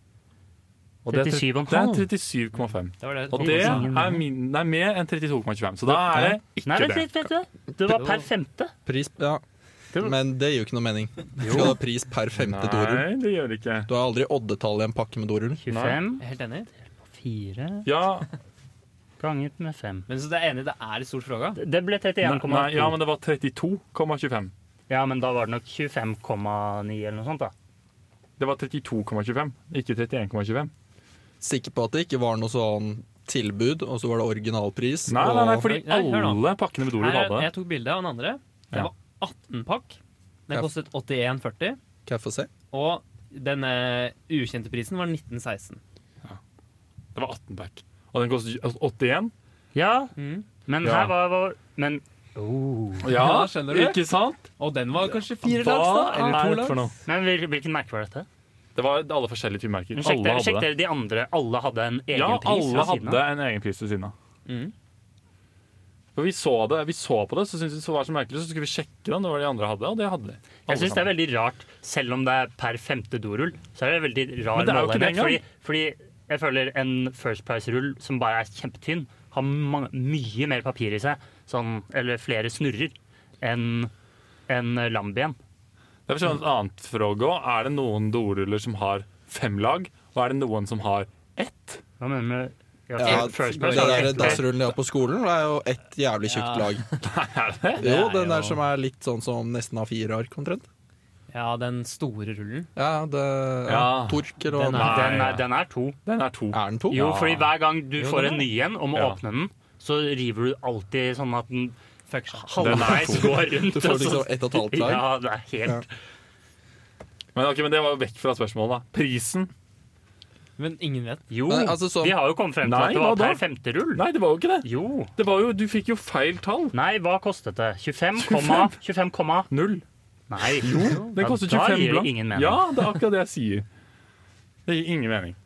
A: 37,5.
D: Det er 37,5.
C: Det var det.
D: Og
A: Det
D: det
A: er ingen
D: er, min, det er mer enn 32,25, så da er det
A: Nei,
D: ikke
A: vent
D: det.
A: litt, vent litt. Det var per femte.
B: Pris, ja.
A: Det var-
B: Men det gir jo ikke noe mening. Du skal ha pris per femte dorull.
D: Nei, det gjør det ikke.
B: Du har aldri oddetall i en pakke med dorull.
A: 25
C: Jeg er helt enig.
A: på 4
D: Ja,
A: ganget med 5.
C: Men så det er enig, det er et stort fråga.
A: Det det ble
D: nei,
A: 31,2.
D: ja, men det var 32,25.
A: Ja, men da var det nok 25,9 eller noe sånt, da.
D: Det var 32,25, ikke 31,25.
B: Sikker på at det ikke var noe sånn tilbud, og så var det originalpris.
D: Nei, nei, nei,
B: og-
D: fordi
C: Nei, hør nå.
D: alle pakkene med dorull
C: Her,
D: hadde det.
C: jeg tok bilde av den andre. Det
D: Ja.
C: var 18 pakk.
B: Ja.
C: Den kostet 81,40.
B: Kan jeg få se?
C: Og den eh, ukjente prisen var 1916.
D: Det var 18 pack. Og den altså kostet 81.
A: Ja,
C: Mm.
A: men
D: Ja.
A: her var vår Men oh.
D: Ja,
C: Ja, skjønner du?
D: Ikke sant?
C: Og den var kanskje fire
D: Hva
C: lags, da?
D: er
C: Eller to
D: dette for
C: lags?
D: noe?
A: Men hvil- hvilken merke var dette?
D: Det var alle forskjellige typemerker.
A: Men Sjekk
D: Alle
A: dere, sjekk
D: hadde det.
A: dere de andre. Alle hadde en egen
D: Ja,
A: pris
D: alle
A: ved siden
D: hadde
A: av.
D: en egen pris ved siden av.
C: Mm.
D: For vi så det, vi så på det, så syntes vi det var så merkelig, så skulle vi sjekke den, det var det de andre hadde, og det hadde de. Alle
A: Jeg syns det er
D: sammen.
A: veldig rart, selv om det er per femte dorull, så er det veldig rar
D: Men det er jo ikke det
A: målenhet. Fordi, fordi jeg føler en First Price-rull som bare er kjempetynn, har ma- mye mer papir i seg, sånn, eller flere snurrer, enn en Lambien.
D: Det er forstått et annet fråg òg. Er det noen doruller som har fem lag, og er det noen som har ett?
A: Hva mener du? Ja,
B: Ja,
A: First
B: det
A: Price har
B: der
A: ett lag.
B: dassrullen de har på skolen, det er jo ett jævlig tjukt lag. Jo,
C: Det er
B: den der
C: jo-
B: som er litt sånn som nesten har fire ark, omtrent.
C: Ja, den store rullen.
B: Ja, det
D: Ja.
B: ja. Tork eller
C: Den
B: hva
D: Nei,
A: Den
D: ja.
A: er, den er to.
D: Den er to.
B: Er den to?
A: Jo,
D: Ja.
A: fordi hver gang du
D: Jo,
A: får en
D: den er-
A: ny en og må
D: Ja.
A: åpne den, så river du alltid sånn at den
C: Fuck seg.
A: halvveis går rundt.
B: Du får
A: og så-
B: liksom ett og et halvt lag.
A: Ja, det er helt
D: Men, ok, men det var jo vekk fra spørsmålet, da. Prisen?
C: Men ingen vet.
A: Jo,
B: Men, altså, sånn-
A: vi har jo kommet frem til
D: Nei,
A: at det var
D: hva da?
A: per femte rull.
D: Nei, det var jo ikke det.
A: Jo.
D: Det var jo, Du fikk jo feil tall.
A: Nei, hva kostet det? 25, komma- 25, komma-
D: Null.
A: Nei. Jo,
D: Den kostet 25
A: Da gir det
D: blank.
A: ingen mening.
D: Ja, det er akkurat det jeg sier. Det gir ingen mening.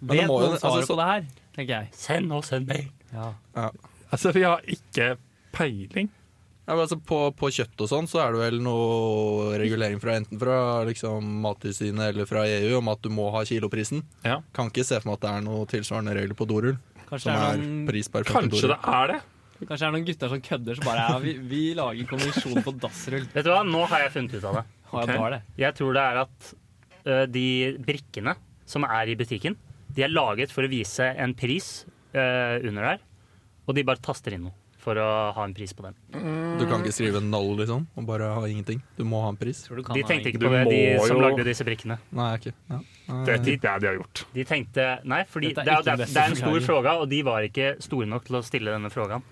B: Men det
C: Vet
B: må jo-
C: noen svaret
B: altså,
C: på det her, tenker jeg.
A: Send oss en mail.
C: Ja.
D: Altså, vi har ikke peiling.
B: Ja, men altså på, på kjøtt og sånn så er det vel noe regulering fra enten fra liksom, Mattilsynet eller fra EU om at du må ha kiloprisen.
D: Ja.
B: Kan ikke se for meg at det er noe tilsvarende regler på dorull.
C: Kanskje
B: Som
C: det
B: er
C: er noen
B: pris per femte
D: Kanskje
B: dorull.
D: det er det.
C: Kanskje det er noen gutter som kødder som bare ja, vi, vi lager konvensjon på dassrull.
A: Vet du hva, nå har jeg funnet ut av det.
C: Og
D: Ok.
C: jeg tar det.
A: Jeg tror det er at ø, de brikkene som er i butikken, de er laget for å vise en pris ø, under der, og de bare taster inn noe for å ha en pris på den.
B: Du kan ikke skrive en null liksom, og bare ha ingenting. Du må ha en pris.
C: Tror du kan
A: De
C: ha
A: tenkte
C: en-
A: ikke
D: Du
A: på det, de
D: må
A: som
D: jo-
A: lagde disse brikkene.
B: Nei, ikke. Ja.
D: Det er det de har gjort.
A: De tenkte Nei, fordi
C: Dette er
A: det er,
C: ikke
A: det,
C: den
A: er,
C: beste
A: det er en stor
C: forklaringen.
A: fråga, og de var ikke store nok til å stille denne frågaen.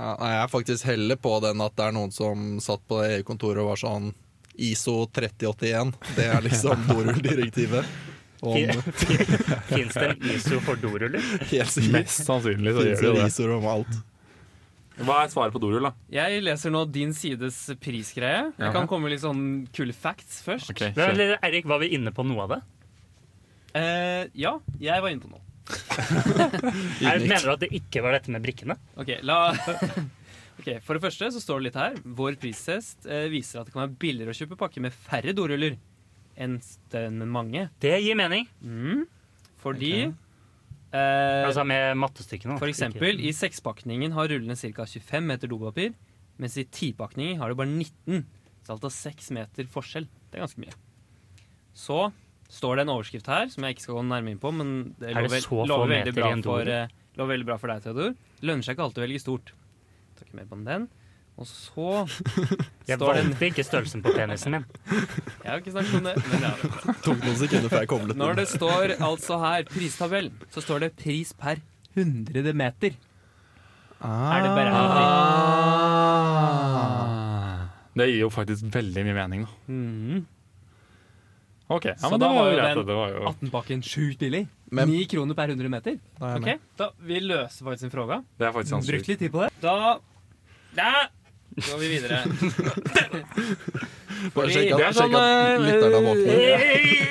B: Ja, nei, jeg er faktisk heller på den at det er noen som satt på det EU-kontoret og var sånn ISO 3081. Det er liksom dorulldirektivet. Om
A: Fins det en ISO for doruller?
B: helt sikkert.
D: Mest sannsynlig så
B: Finnes
D: gjør de
B: det
D: jo det.
B: ISO'er om alt.
D: Hva er svaret på dorull, da?
C: Jeg leser nå din sides prisgreie. Jeg
D: Ja.
C: kan komme med litt sånn kule facts først.
D: Ok,
A: Men,
D: kjør.
A: Eirik, var vi inne på noe av det?
C: Eh, ja, jeg var inne på noe.
A: Er, mener du at det ikke var dette med brikkene?
C: Ok, la... Ok, For det første så står det litt her Vår pristest eh, viser at det kan være billigere å kjøpe pakke med færre doruller enn s- den med mange.
A: Det gir mening.
C: Mm. Fordi eh,
A: Altså med mattestykkene. da.
C: For eksempel, i sekspakningen har rullene ca. 25 meter dopapir, mens i tipakningen har de bare 19. Så alt er 6 meter forskjell. Det er ganske mye. Så står det en overskrift her, som jeg ikke skal gå nærmere inn på, men det
A: Er det
C: lover,
A: så få
C: lover,
A: meter i
C: veldig bra
A: en
C: for,
A: dorull?
C: eh, lover veldig bra for deg, Theodor. Lønner seg ikke alltid å velge stort. Tar ikke mer på den. Og så
A: Jeg
C: står det en
A: valgte ikke størrelsen på penisen min.
C: Jeg har ikke snakket om det. Men ja.
B: Tok noen sekunder før jeg koblet
C: Når det står altså her pristabell, så står det pris per hundrede meter.
A: Ah.
C: Er det beregnet?
D: Det gir jo faktisk veldig mye mening, da.
C: Mhm.
D: Ok, ja,
C: Så
D: men
C: da
D: det var
C: var
D: jo
C: jo
D: greit.
C: den-
D: Det var jo
C: 18-pakken sjukt billig.
B: Men-
C: 9 kroner per 100 meter.
B: Da er jeg
C: Ok,
B: med.
C: da Vi løser faktisk en fråga.
D: Det er faktisk ganske
C: litt tid på det. Da Da går vi videre.
B: Bare
C: Fordi
B: sjekk
D: det
B: at,
D: er
B: sjekk at
D: sånn, eh,
B: lytterne er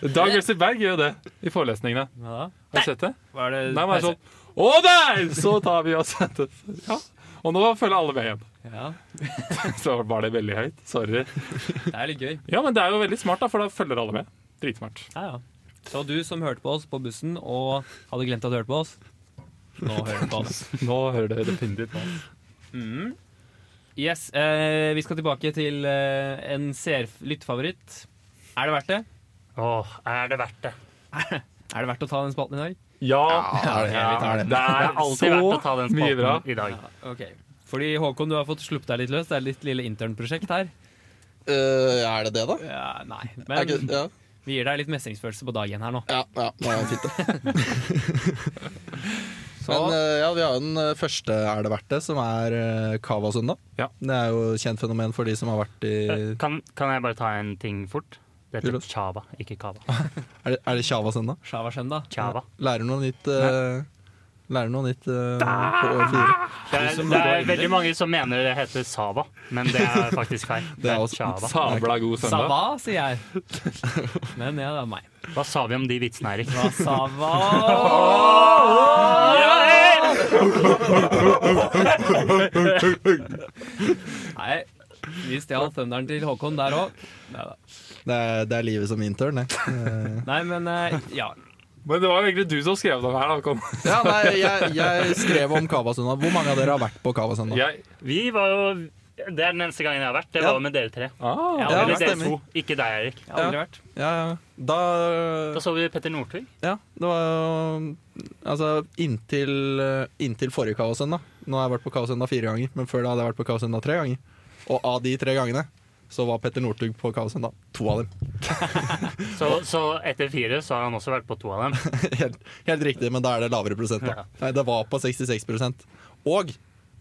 B: våkne.
D: Dag Øystein Berg gjør jo det. i forelesningene.
C: Hva da?
D: Har du sett det?
C: Hva er det?
D: Nei, men sånn Å nei! Så tar vi oss en tøff- Ja. Og nå følger alle med igjen.
C: Ja,
D: Så var det veldig høyt. Sorry.
C: det er litt gøy.
D: Ja, men det er jo veldig smart, da, for da følger alle med. Dritsmart.
C: Ja, ja. Så du som hørte på oss på bussen og hadde glemt at du hørte på oss, nå hører du på oss.
D: Nå hører dere definitivt på.
C: Mm. Yes, eh, vi skal tilbake til eh, en seerf- lyttfavoritt. Er det verdt det?
A: Åh, er det verdt det?
C: Er det verdt å ta den spalten i dag?
D: Ja,
B: Ja, det er det. Vi tar det.
D: det
A: Det
D: er
A: er alltid verdt å ta den
D: mye bra.
A: spalten i dag.
C: Ok. Fordi Håkon, du har fått sluppet deg litt løs. Det er litt lille internprosjekt her.
B: Eh, er det det, da?
C: Ja, nei,
B: Er ikke,
C: men
B: ja,
C: vi gir deg litt mestringsfølelse på dagen her nå.
B: ja, ja, nå er det fint, det.
C: Så
B: Men eh, ja, vi har jo den eh, første Er det verdt det, som er eh, Cava-søndag.
D: Ja.
B: Det er jo et kjent fenomen for de som har vært i
A: Eh, Kan, kan jeg bare ta en ting fort? Det
B: Jo
A: heter
B: da.
A: chava, ikke kava.
B: Er det, er det Chava-søndag?
C: Sjava-skjenda.
A: Chava.
B: Lærer noe nytt eh, Lærer noe nytt eh, på år fire.
A: Det er, det er veldig mange som mener det heter sava, men det er faktisk feil. Det er
B: også-
A: chava.
D: Sabla god søndag.
C: Sava, sier jeg. Men ja, det er meg.
A: Hva sa vi om de vitsene, Erik?
C: Hva Sava Nei, vi stjal thunderen til Håkon der òg.
B: Det er, det er livet som intern, det. Eh,
C: Nei, men eh, ja.
D: Men det var jo egentlig du som skrev den her. da, Håkon.
B: ja, nei, jeg, jeg skrev om Cava-søndag. Hvor mange av dere har vært på Cava-søndag?
D: Jeg,
A: Vi var jo Det er den eneste gangen jeg har vært. Det
B: Ja.
A: var jo med dere tre.
D: ah,
C: Ja,
A: Eller
B: det
A: dere
B: stemmer.
A: to, ikke deg, Erik.
C: Jeg har aldri vært.
B: Ja, ja. Da
A: Da så vi Petter Northug.
B: Ja, det var jo Altså, inntil, eh, inntil forrige Kaosøndag. Nå har jeg vært på Kaosøndag fire ganger, men før da hadde jeg vært på Kaosøndag tre ganger. Og av de tre gangene så var Petter Northug på Kaosøndag to av dem.
A: Så, så etter fire så har han også vært på to av dem.
B: Helt, helt riktig, men da er det lavere prosent,
A: Ja.
B: da. Nei, det var på 66 Og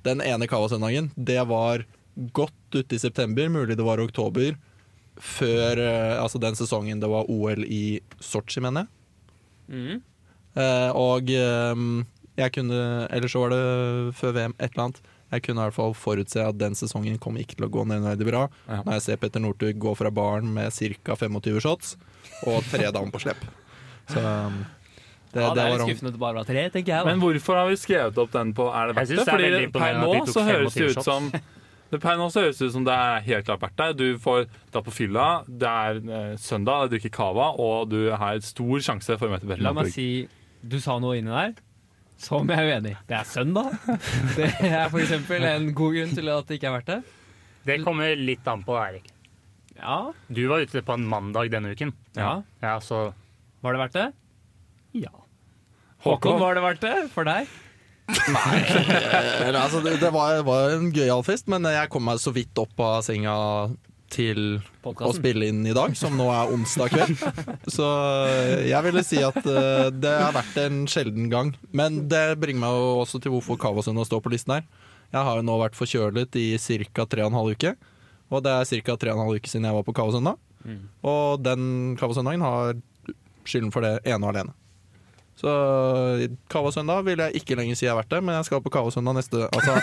B: den ene Kaosøndagen, det var godt ute i september, mulig det var oktober, før eh, altså den sesongen det var OL i Sotsji, mener jeg.
C: Mm.
B: Eh, og ehm, jeg kunne Eller så var det før VM, et eller annet. Jeg kunne i hvert fall forutse at den sesongen kom ikke til å gå nevneverdig bra.
D: Ja.
B: Når jeg ser Petter Northug gå fra baren med ca. 25 shots og tre damer på slep. Så ehm, det,
C: Ja, det
B: det
C: er
B: var
C: litt
B: om-
C: skuffende at det bare var tre, tenker jeg. da.
D: Men hvorfor har vi skrevet opp den på Er det verdt
A: Jeg
D: det?
A: synes det er veldig
D: Fordi per
A: imponerende
D: nå
A: at de tok
D: så høres det
A: 25
D: ut som det per nå så høres det ut som det er helt klart verdt det. Du får dra på fylla, det er eh, søndag, du drikker cava, og du har stor sjanse for å møte Petter
C: La meg
D: Northug.
C: si Du sa noe inni der som jeg er uenig i. Det er søndag. Det er for eksempel en god grunn til at det ikke er verdt det.
A: Det kommer litt an på deg, Erik.
C: Ja.
A: Du var ute på en mandag denne uken.
C: ja.
A: Ja, så
C: Var det verdt det?
A: Ja.
C: Håkon, var det verdt det for deg?
B: Eller, altså, det, det var, var en gøyal fest, men jeg kom meg så vidt opp av senga til å
C: Podkasten.
B: spille inn i dag, som nå er onsdag kveld. Så jeg ville si at eh, det har vært en sjelden gang. Men det bringer meg jo også til hvorfor Kavasund står på listen her. Jeg har jo nå vært forkjølet i ca. 3,5 uke. Og det er ca. 3,5 uke siden jeg var på Kavasøndag. Og den Kavasøndagen har skylden for det ene og alene. Så Kavasøndag vil jeg ikke lenger si jeg har vært det, men jeg skal på Kavasøndag neste Altså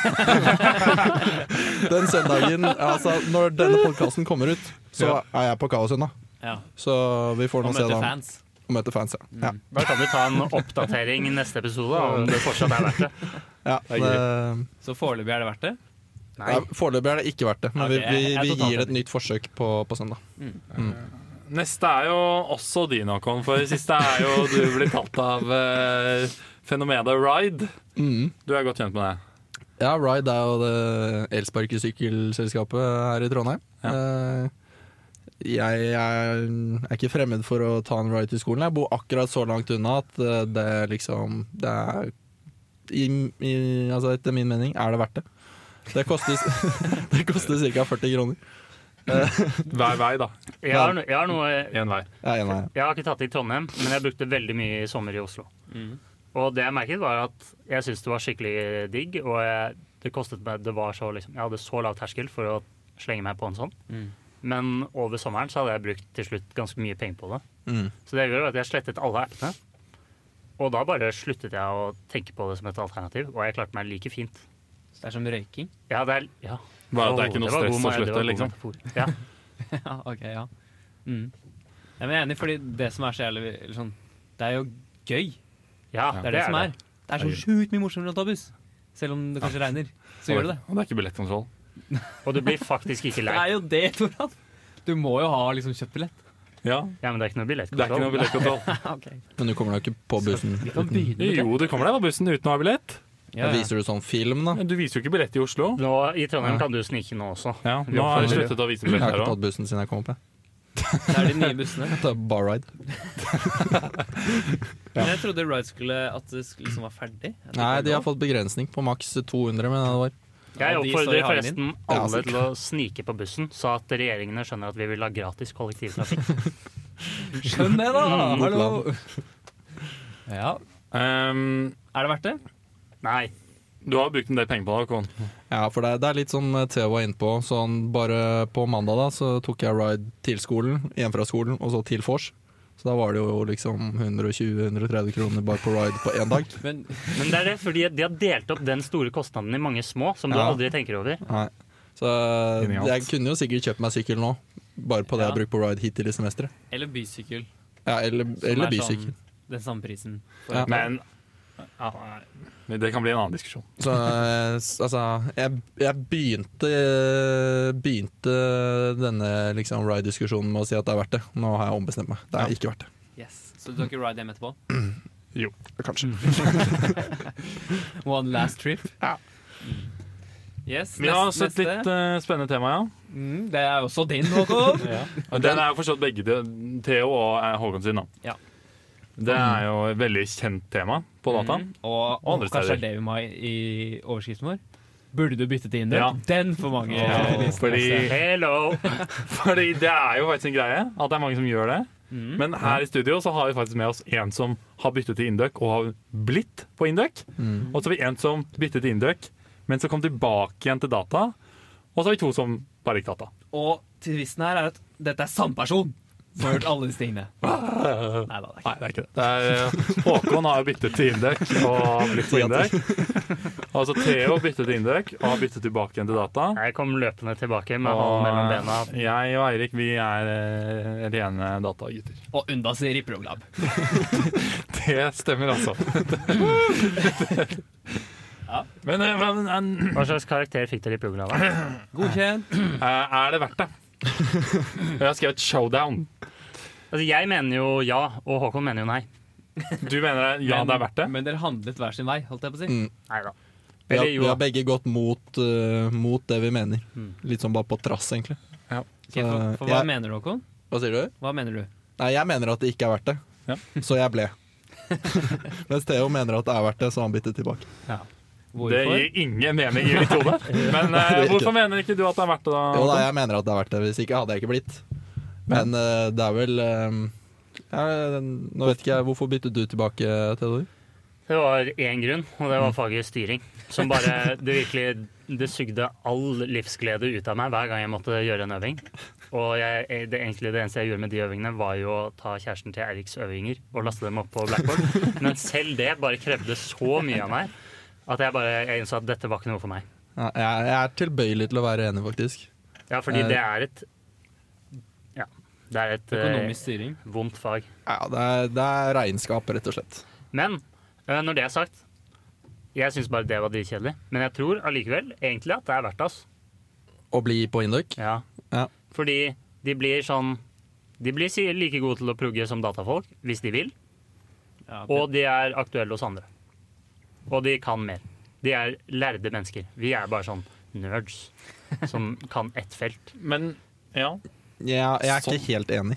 B: Den søndagen Altså, når denne podkasten kommer ut, så er jeg på Kavasøndag.
C: Ja.
B: Så vi får nå
C: Og
B: se
C: møte
B: da
C: fans. Mm.
B: Og møte fans, ja. ja.
A: Da kan du ta en oppdatering i neste episode da, om det fortsatt er verdt det.
B: ja.
D: er gøy.
B: det-
C: Så foreløpig er det verdt det.
A: Nei.
B: ja, Foreløpig er det ikke verdt det, men
C: Ok, jeg-
B: vi,
C: jeg er
B: vi, vi
C: totalt
B: gir det
C: enig.
B: et nytt forsøk på, på søndag.
D: Neste er jo også din, Håkon, for det siste er jo du blir tatt av eh, fenomenet ride.
B: Mm.
D: Du er godt kjent med det.
B: Ja, Ride er jo det elsparkesykkelselskapet her i Trondheim. Eh, Jeg, er- er ikke fremmed for å ta en ride til skolen. Jeg bor akkurat så langt unna at eh, det liksom Det er i, i, Altså etter min mening er det verdt det. Det koster, det koster ca. 40 kroner.
D: Hver vei, da.
A: Jeg har, no- jeg har noe
D: Én vei.
B: Jeg er enig.
A: Jeg har ikke tatt det i Trondheim, men jeg brukte veldig mye i sommer i Oslo.
D: Mm.
A: Og det jeg merket, var at jeg syntes det var skikkelig digg, og jeg, det kostet meg Det var så liksom Jeg hadde så lav terskel for å slenge meg på en sånn.
C: Mm.
A: Men over sommeren så hadde jeg brukt til slutt ganske mye penger på det.
B: Mm.
A: Så det gjorde at jeg slettet alle appene. Og da bare sluttet jeg å tenke på det som et alternativ, og jeg klarte meg like fint.
C: Så det er som røyking?
A: Ja, det er, ja.
D: Bare at det er
A: Åh,
D: ikke noe
A: var god
D: stress å
A: me- det var
D: slutte,
A: god
D: liksom.
A: metafor. Ja.
C: Ja, ok, ja. Mm. Jeg er enig, fordi det som er så jævlig eller sånn, Det er jo gøy.
A: Ja,
C: Det er det, som er. Det er så sjukt mye morsommere enn å ta buss. Selv om det kanskje regner, så gjør det det.
D: Og det er ikke billettkontroll.
A: Og du blir faktisk ikke
C: Det
A: lei.
C: er jo det, Toran. Du må jo ha liksom kjøpt billett.
D: Ja,
A: Ja, men det er ikke noe
D: det er ikke noe
A: billettkontroll.
D: billettkontroll.
B: Men du kommer deg ikke på bussen.
C: Vi kan
B: Uten.
C: begynne med det.
D: Jo, du kommer deg på bussen uten å ha billett.
C: Ja, ja.
B: Viser du sånn film, da?
D: Men Du viser jo ikke billett i Oslo.
A: Nå, I Trondheim kan du snike nå også.
D: Ja, nå har jeg sluttet å vise
B: Jeg
D: billett
B: har
D: her
B: ikke
D: òg.
B: tatt bussen siden jeg kom opp. jeg.
C: Det er de nye bussene.
B: Det er Bar ride.
C: Men jeg trodde Ride skulle at det skulle liksom var ferdig. Jeg trodde
B: Nei,
C: det
B: de
C: var
B: har fått begrensning på maks 200, men det var
A: Jeg
C: Ja, de står i
A: oppfordrer
C: hagen
A: forresten
B: Ja,
A: alle
B: sikkert.
A: til å snike på bussen, så at regjeringene skjønner at vi vil ha gratis kollektivtrafikk.
C: nå. Skjønn det, da! Hallo! Ja. Er det verdt det?
A: Nei.
D: Ehm, du har brukt en del penger på det, Håkon.
B: Ja, for det, det er litt som eh, Theo var inne på. Sånn, bare på mandag da, så tok jeg ride til skolen, hjem fra skolen, og så til vors. Så da var det jo liksom 120-130 kroner bare på ride på én dag.
C: Men
A: Men det er det, fordi de har delt opp den store kostnaden i mange små, som du
B: Ja.
A: aldri tenker over.
B: Nei. Så
D: Genialt.
B: jeg kunne jo sikkert kjøpt meg sykkel nå, bare på det jeg har brukt på ride hittil i semesteret.
C: Eller bysykkel.
B: Ja, eller,
C: som
B: eller
C: er
B: bysykkel.
C: Sånn, den samme prisen.
B: Ja.
D: Men ja, nei. Men det kan bli en annen diskusjon.
B: Så eh, s- altså Jeg, jeg begynte, begynte denne liksom ride-diskusjonen med å si at det er verdt det. Nå har jeg ombestemt meg. Det er ikke verdt det.
C: Yes. Så du tar ikke ride hjem etterpå?
B: Kanskje.
A: Mm.
C: One last trip? Mm. Yes,
D: Vi har
C: neste-
D: sett litt
C: neste.
D: eh, spennende tema, ja.
C: Mm, det er også din, Håkon. Mm.
D: Og Den er jo forstått begge de- Theo og eh, Håkon sin, da.
C: Ja.
D: Det er jo et veldig kjent tema på data.
C: Mm, og,
D: Og
C: og
D: andre
C: kanskje
D: steder.
C: er det vi må ha i i overskriften vår. Burde du bytte til Inder?
D: Ja.
C: Den for mange. altså.
D: Ja,
C: lister.
D: fordi,
A: Hello!
D: fordi det er jo faktisk en greie at det er mange som gjør det.
C: Mm.
D: Men her i studio så har vi faktisk med oss en som har byttet til Induc og har blitt på Induc.
B: Mm.
D: Og så har vi en som byttet til Induc, men som kom tilbake igjen til data. Og så har vi to som bare gikk data.
C: Og tvisten her er at dette er samme person som har gjort alle disse tingene. Nei da, det er ikke
D: Nei, det er ikke det. det er, Håkon har byttet til Indøk og blitt på Indøk. Altså Theo byttet til Indøk og har byttet tilbake igjen til data.
A: Jeg kom løpende tilbake med
D: Og
A: hånden mellom bena.
D: jeg og Eirik vi er eh, rene datagutter.
C: Og undas i ripperoglab.
D: Det stemmer, altså. Men, eh, men eh,
A: Hva slags karakter fikk dere i programmet?
C: Godkjent.
D: er det verdt det? Jeg har skrevet showdown.
A: Altså, jeg mener jo ja, og Håkon mener jo nei.
D: Du mener ja, det er verdt det?
C: Men dere handlet hver sin vei, holdt jeg på å si.
B: Mm.
A: Nei da.
B: Vi har,
A: Eller jo
B: vi
A: da.
B: har begge gått mot, eh, mot det vi mener.
A: Mm.
B: Litt sånn bare på trass, egentlig.
C: Ok, for, for hva
B: jeg-
C: mener du, Håkon?
B: Hva sier du?
C: Hva mener du?
B: Nei, jeg mener at det ikke er verdt det, så jeg ble. Mens Theo mener at det er verdt det, så han byttet tilbake.
D: Det
C: Hvorfor?
D: gir ingen mening i mitt hode. Men eh,
B: det er ikke.
D: hvorfor mener ikke du at det er verdt det? da?
B: Jo da, jeg mener at det er verdt det, hvis ikke hadde jeg ikke blitt. Men eh, det er vel eh, ja, Nå vet ikke jeg, hvorfor byttet du tilbake, Theodor?
A: Det var én grunn, og det var faget styring. Som bare Det virkelig Det sugde all livsglede ut av meg hver gang jeg måtte gjøre en øving. Og jeg, det, egentlig det eneste jeg gjorde med de øvingene, var jo å ta kjæresten til Eriks øvinger og laste dem opp på blackboard. Men selv det bare krevde så mye av meg at jeg bare jeg innså at dette var ikke noe for meg.
B: Ja, jeg, jeg er tilbøyelig til å være enig, faktisk.
A: Ja, fordi det er et Ja. Det er et eh,
C: Økonomisk styring.
A: vondt fag.
B: Ja, det er, det er regnskap, rett og slett.
A: Men øh, når det er sagt Jeg syns bare det var dritkjedelig. Men jeg tror allikevel egentlig at det er verdt det. ass.
B: Å bli på Induc?
A: Ja.
B: Ja.
A: Fordi de blir sånn De blir si- like gode til å progge som datafolk hvis de vil,
C: Ja, det-
A: og de er aktuelle hos andre. Og de kan mer. De er lærde mennesker. Vi er bare sånn nerds som kan ett felt.
D: Men ja.
B: Ja, jeg er
D: Sånn.
B: ikke helt enig.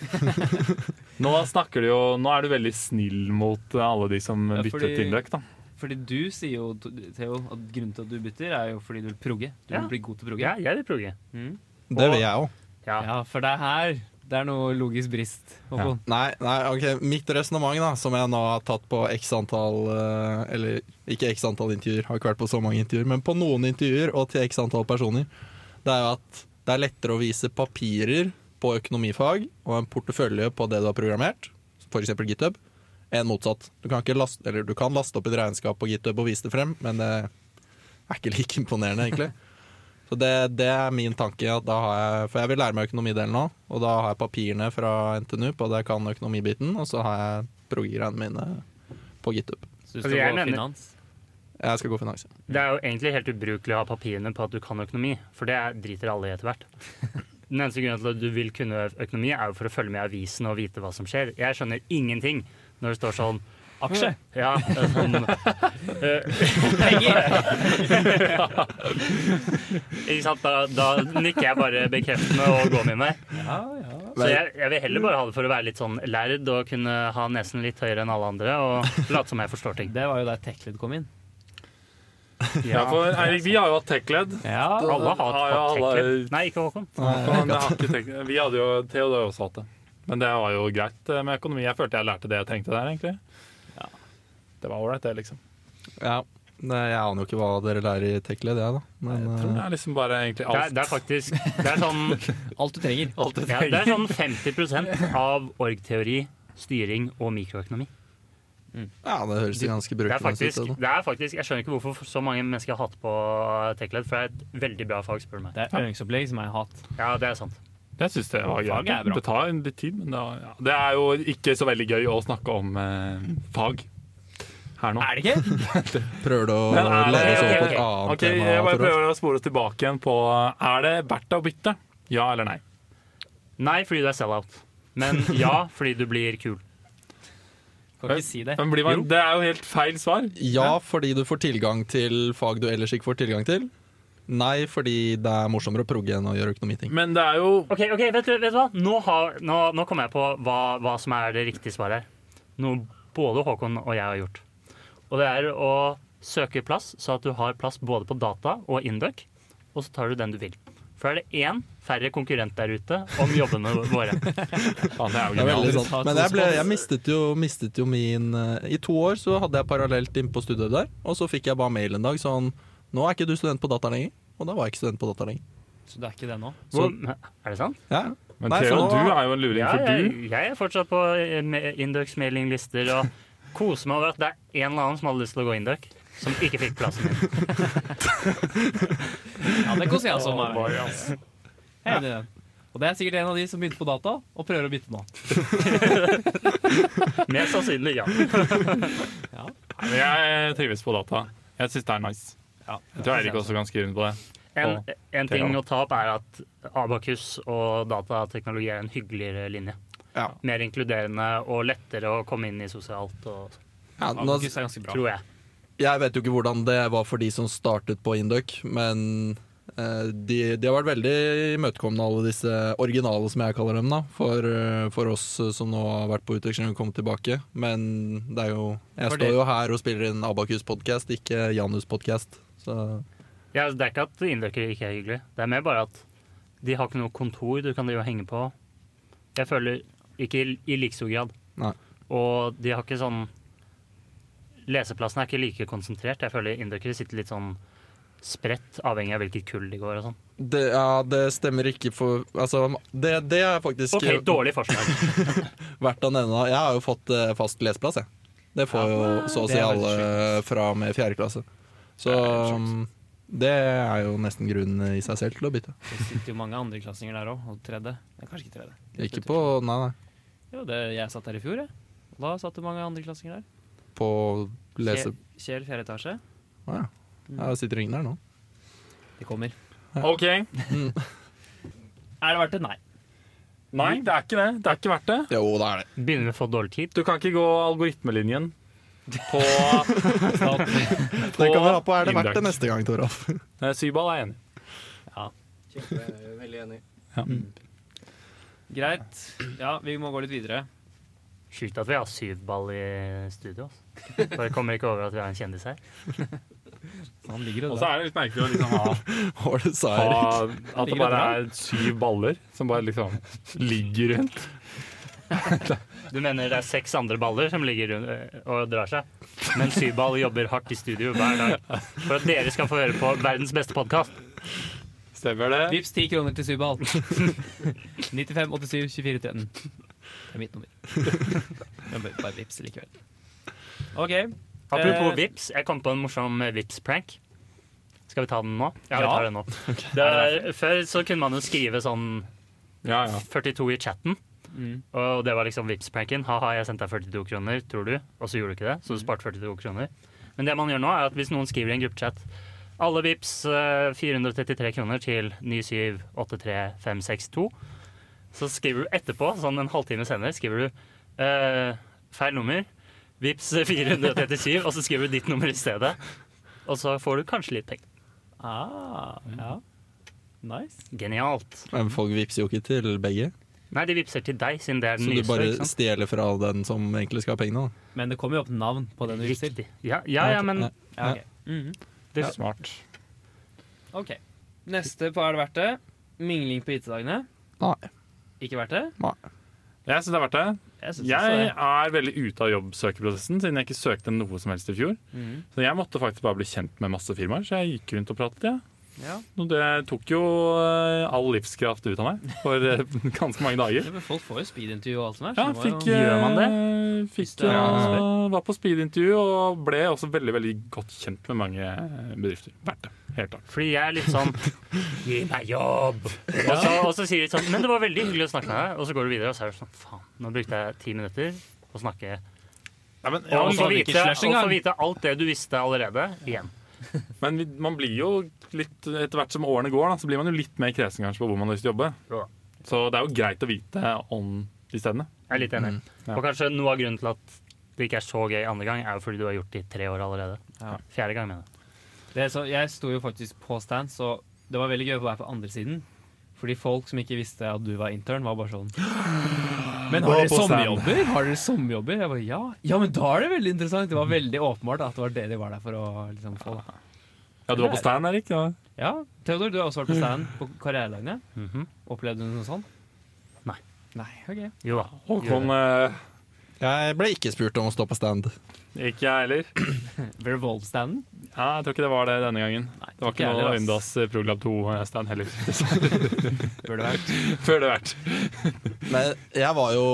D: Nå snakker du jo Nå er du veldig snill mot alle de som
C: Ja,
D: byttet
C: fordi-
D: til Indøk, da.
C: Fordi du sier jo, Theo, at grunnen til at du bytter, er jo fordi du vil progge. Du
A: Ja.
C: vil bli god til å progge.
A: Ja, jeg vil progge.
B: Det vil jeg òg.
A: Ja.
C: Ja, for det er her det er noe logisk brist, Håkon.
B: Nei, nei, ok, mitt resonnement da, som jeg nå har tatt på x antall eh, Eller ikke x antall intervjuer, har ikke vært på så mange intervjuer, men på noen intervjuer og til x antall personer, det er jo at det er lettere å vise papirer på økonomifag og en portefølje på det du har programmert, f.eks. GitHub, enn motsatt. Du kan, ikke laste, eller du kan laste opp et regnskap på GitHub og vise det frem, men det er ikke like imponerende, egentlig. Så det, det er min tanke. At da har jeg, for jeg vil lære meg økonomidelen nå. Og da har jeg papirene fra NTNU på at jeg kan økonomibiten, og så har jeg prog-greiene mine på GitHub.
E: Så du
A: Altså, jeg
E: skal gå
A: mener-
E: finans?
B: Jeg skal gå finans. ja.
A: Det er jo egentlig helt ubrukelig å ha papirene på at du kan økonomi, for det driter alle i etter hvert. Den eneste grunnen til at du vil kunne økonomi, er jo for å følge med i avisen og vite hva som skjer. Jeg skjønner ingenting når det står sånn
E: Aksje!
A: Ja, det er sånn eh, Ikke sant? Da, da nikker jeg bare bekreftende og går med meg. Så jeg, jeg vil heller bare ha det for å være litt sånn lærd og kunne ha nesen litt høyere enn alle andre og late som jeg forstår ting.
E: Det var jo der Tekled kom inn.
D: Ja, for Eirik, vi har jo hatt tech-led.
E: Ja,
A: Alle har
D: Ja, ja,
A: hatt
D: alle-
A: tech-led. Nei, ikke Håkon.
D: Men jeg har ikke tech-led. Vi hadde jo Theodor har også hatt det. Men det var jo greit eh, med økonomi. Jeg følte jeg lærte det jeg trengte der, egentlig. Det var ålreit, det, liksom.
B: Ja. Nei, Jeg aner jo ikke hva dere lærer i tech-led, jeg, da. Men
D: Jeg tror det er liksom bare
A: Det
D: egentlig
A: er,
D: alt.
A: det er faktisk det er sånn,
E: alt du trenger.
D: alt jeg
A: ja, det er
D: trenger.
A: sånn 50 av org-teori, styring og mikroøkonomi.
B: eh, ja, det høres jo ganske
A: Det er,
B: brukende ut.
A: faktisk,
B: det da.
A: det er faktisk, Jeg skjønner ikke hvorfor så mange mennesker har hatt på tech-led, for det er et veldig bra fag, spør du meg.
E: Det er øvingsopplegg som er hat.
A: Ja, det er sant.
D: Jeg syns det var
E: Faget er
D: greit.
E: bra.
D: Det tar litt tid, men det, var, ja. det er jo ikke så veldig gøy å snakke om eh, fag her nå.
E: Er det ikke?
B: Prøver du å
D: Men er
B: lære oss
D: det-
B: over
D: ok,
B: på et annet
D: ok, jeg
B: tema?
D: bare
B: Torolf?
D: prøver å spore oss tilbake igjen på Er det verdt å bytte? Ja eller nei?
A: Nei, fordi du er sell-out. Men ja, fordi du blir kul.
E: Kan ikke si det.
D: Men blir man, det er jo helt feil svar.
B: Ja, fordi du får tilgang til fag du ellers ikke får tilgang til. Nei, fordi det er morsommere å progge enn å gjøre økonomiting.
D: Men det er jo
A: Ok, ok, vet du, vet du hva? Nå, har, nå, nå kommer jeg på hva, hva som er det riktige svaret her. Noe både Håkon og jeg har gjort. Og det er å søke plass, så at du har plass både på data og Induc, og så tar du den du vil. For er det én færre konkurrent der ute om jobbene våre.
D: Faen, det er jo
B: Det er veldig sånn.
D: genialt.
B: sant. Men jeg, ble, jeg mistet, jo, mistet jo min eh, I to år så hadde jeg parallelt inn på studiet der, og så fikk jeg bare mail en dag sånn Nå er ikke du student på data lenger. Og da var jeg ikke student på data lenger.
E: Så det er ikke det nå?
A: Hvor, er det sant?
B: Ja.
D: Men
B: Nei, for
D: Theo,
B: nå-
D: du er jo en luring,
A: Ja, jeg,
D: for du
A: jeg er fortsatt på eh, me- Induc-mailinglister og koser meg over at det er en eller annen som hadde lyst til å gå Induc, som ikke fikk plassen min.
E: Ja, det koser jeg sånn.
D: Oi, ass.
E: Jeg er enig i det. Og det er sikkert en av de som begynte på data og prøver å bytte nå.
A: Mest sannsynlig ja.
D: Nei, men Jeg trives på data. Jeg syns det er nice. Jeg tror Eirik også kan skrive under på det.
A: En, en ting
D: Tera.
A: å ta opp er at Abakus og datateknologi er en hyggeligere linje.
B: Ja.
A: Mer inkluderende og lettere å komme inn i sosialt, og,
B: Ja, nå,
E: Abakus er ganske bra.
A: tror jeg.
B: jeg vet jo ikke hvordan det var for de som startet på Induc, men eh, de, de har vært veldig imøtekommende, alle disse originale, som jeg kaller dem, da, for, eh, for oss som nå har vært på utveksling og kommet tilbake. Men det er jo Jeg
E: For
B: står
E: det-
B: jo her og spiller inn Abakus-podkast, ikke Janus-podkast. Så
A: Ja, altså, det er ikke at indøkere ikke er hyggelig, det er mer bare at de har ikke noe kontor du kan drive og henge på. Jeg føler ikke i, i like stor grad.
B: Nei.
A: Og de har ikke sånn Leseplassen er ikke like konsentrert. Jeg føler indøkere sitter litt sånn spredt, avhengig av hvilket kull de går og sånn.
B: Det, ja, det stemmer ikke for Altså, det, det er faktisk
A: OK, dårlig forslag.
B: verdt å nevne. Jeg har jo fått eh, fast leseplass, jeg. Det får jo så å
E: det
B: si
E: er veldig
B: alle fra og med fjerde klasse. Så um, det er jo nesten grunnen i seg selv til å bytte.
E: Det sitter jo mange andreklassinger der òg, og tredje. Nei, kanskje ikke tredje.
B: Ikke på Nei, nei.
E: Jo, det, jeg satt der i fjor, jeg. Og Da satt det mange andreklassinger der.
B: På lese...
E: Kjel- Kjel, fjerde etasje.
B: Å ja. ja. Det sitter ingen der nå.
E: Det kommer.
D: OK.
E: Er det verdt det? Nei.
D: Nei, det er ikke det. Det er ikke verdt det.
B: Jo, det er det.
A: Begynner vi å få dårlig tid?
D: Du kan ikke gå algoritmelinjen på
B: Det kan vi ha på Er det verdt
D: Induc.
B: det neste gang, Toralf?
D: Nei, Sybal er enig.
G: Veldig enig.
E: Greit. Ja, vi må gå litt videre.
A: Sjukt at vi har syv ball i studio. altså. Bare kommer ikke over at vi har en kjendis her.
E: Han ligger
D: Og
E: og
D: så er det litt merkelig å liksom ha
B: Hva var det du sa,
D: ha,
B: Erik?
D: at det bare er syv baller som bare liksom ligger rundt.
A: Du mener det er seks andre baller som ligger rundt eh, og drar seg? Men syv ball jobber hardt i studio hver dag for at dere skal få høre på verdens beste podkast.
D: Stemmer det?
E: Vips 10 kroner til Subal. 95 87 24 13. Det er mitt nummer. Men bare, bare vips likevel. OK.
A: Apropos
E: Eh.
A: vips, jeg kom på en morsom vips prank Skal vi ta den nå? Ja, vi
E: Ja.
A: tar den nå. Det er, før så kunne man jo skrive sånn
D: Ja, ja.
A: 42 i chatten.
H: Mm.
A: Og det var liksom Vipps-pranken. Ha-ha, jeg sendte deg 42 kroner, tror du? Og så gjorde du ikke det, så du sparte 42 kroner. Men det man gjør nå, er at hvis noen skriver i en gruppechat alle Vipps eh, 433 kroner til 9783562, så skriver du etterpå, sånn en halvtime senere, skriver du eh, feil nummer, Vipps 437, og så skriver du ditt nummer i stedet. Og så får du kanskje litt penger.
C: Ah, ja. Nice.
A: Genialt.
B: Men folk vippser jo ikke til begge,
A: Nei, de vippser til deg, siden det er den
B: så du
A: nyeste.
B: bare
A: ikke sant?
B: stjeler fra den som egentlig skal ha pengene. da.
C: Men det kommer jo opp navn på den du viser.
A: Riktig. Ja, ja, ja, men
B: Nei.
C: Ja, ok. Mhm.
A: det,
D: Smart.
C: ok. Neste på Er det verdt det? Mingling på IT-dagene.
B: Nei.
C: Ikke verdt det?
D: Jeg syns det er verdt det.
C: Jeg synes
D: Jeg
C: også det.
D: er veldig ute av jobbsøkeprosessen, siden jeg ikke søkte noe som helst i fjor.
C: Mhm.
D: Så jeg måtte faktisk bare bli kjent med masse firmaer, så jeg gikk rundt og pratet. Ja.
C: Ja.
D: Og Det tok jo eh, all livskraft ut av meg for eh, ganske mange dager.
C: Ja, men Folk får jo speedintervju og alt som er. så
D: Ja,
C: det må
D: fikk,
C: jo...
A: Gjør man
D: eh,
C: Hvis
D: Fikk,
C: det er
D: eh,
C: ansvar.
D: var på speedintervju og ble også veldig veldig godt kjent med mange eh, bedrifter. Verdt det. Helt klart.
A: Fordi jeg er litt sånn Gi meg jobb! Og, så, og så sier de sånn Men det var veldig hyggelig å snakke med deg. Og så går du videre, og så er du sånn Faen, nå brukte jeg ti minutter på å snakke. Og
C: altså,
A: så
C: ikke
A: vite,
C: slush
A: og
C: engang.
A: så vite alt det du visste allerede, igjen.
D: Men vi- man blir jo litt Etter hvert som årene går, da, så blir man jo litt mer kresen kanskje på hvor man har lyst til å jobbe.
A: Ja.
D: Så det er jo greit å vite om de stedene.
A: Jeg er litt enig.
D: Mm, ja.
A: Og kanskje noe av grunnen til at det ikke er så gøy andre gang, er jo fordi du har gjort det i tre år allerede.
C: Ja.
A: Fjerde gang, mener jeg.
C: Det er så, jeg sto jo faktisk på stand, så det var veldig gøy å være på andre siden. Fordi folk som ikke visste at du var intern, var bare sånn Men har
D: Var
C: dere
D: på stand.
C: sommerjobber? Har dere sommerjobber? Jeg bare ja. Ja, men da er det veldig interessant. Det var veldig åpenbart at det var det de var der for å liksom, få.
D: Ah.
C: Da.
D: Ja, du var på stand, Erik? Ja.
C: Ja, Theodor, du har også vært på stand på karrierelagene.
A: Mhm.
C: Opplevde du noe sånt?
A: Nei.
C: Nei, ok.
A: Jo da.
D: Håkon eh,
B: Jeg ble ikke spurt om å stå på stand.
D: Ikke jeg heller.
C: Revolve-standen?
D: Ja, jeg tror ikke det var det denne gangen. Det var
C: ikke
D: ikke
C: jeg heller,
D: noe
C: ass.
D: Undas Proglab 2-stand heller.
C: Burde vært.
D: Før det vært.
B: Men jeg var jo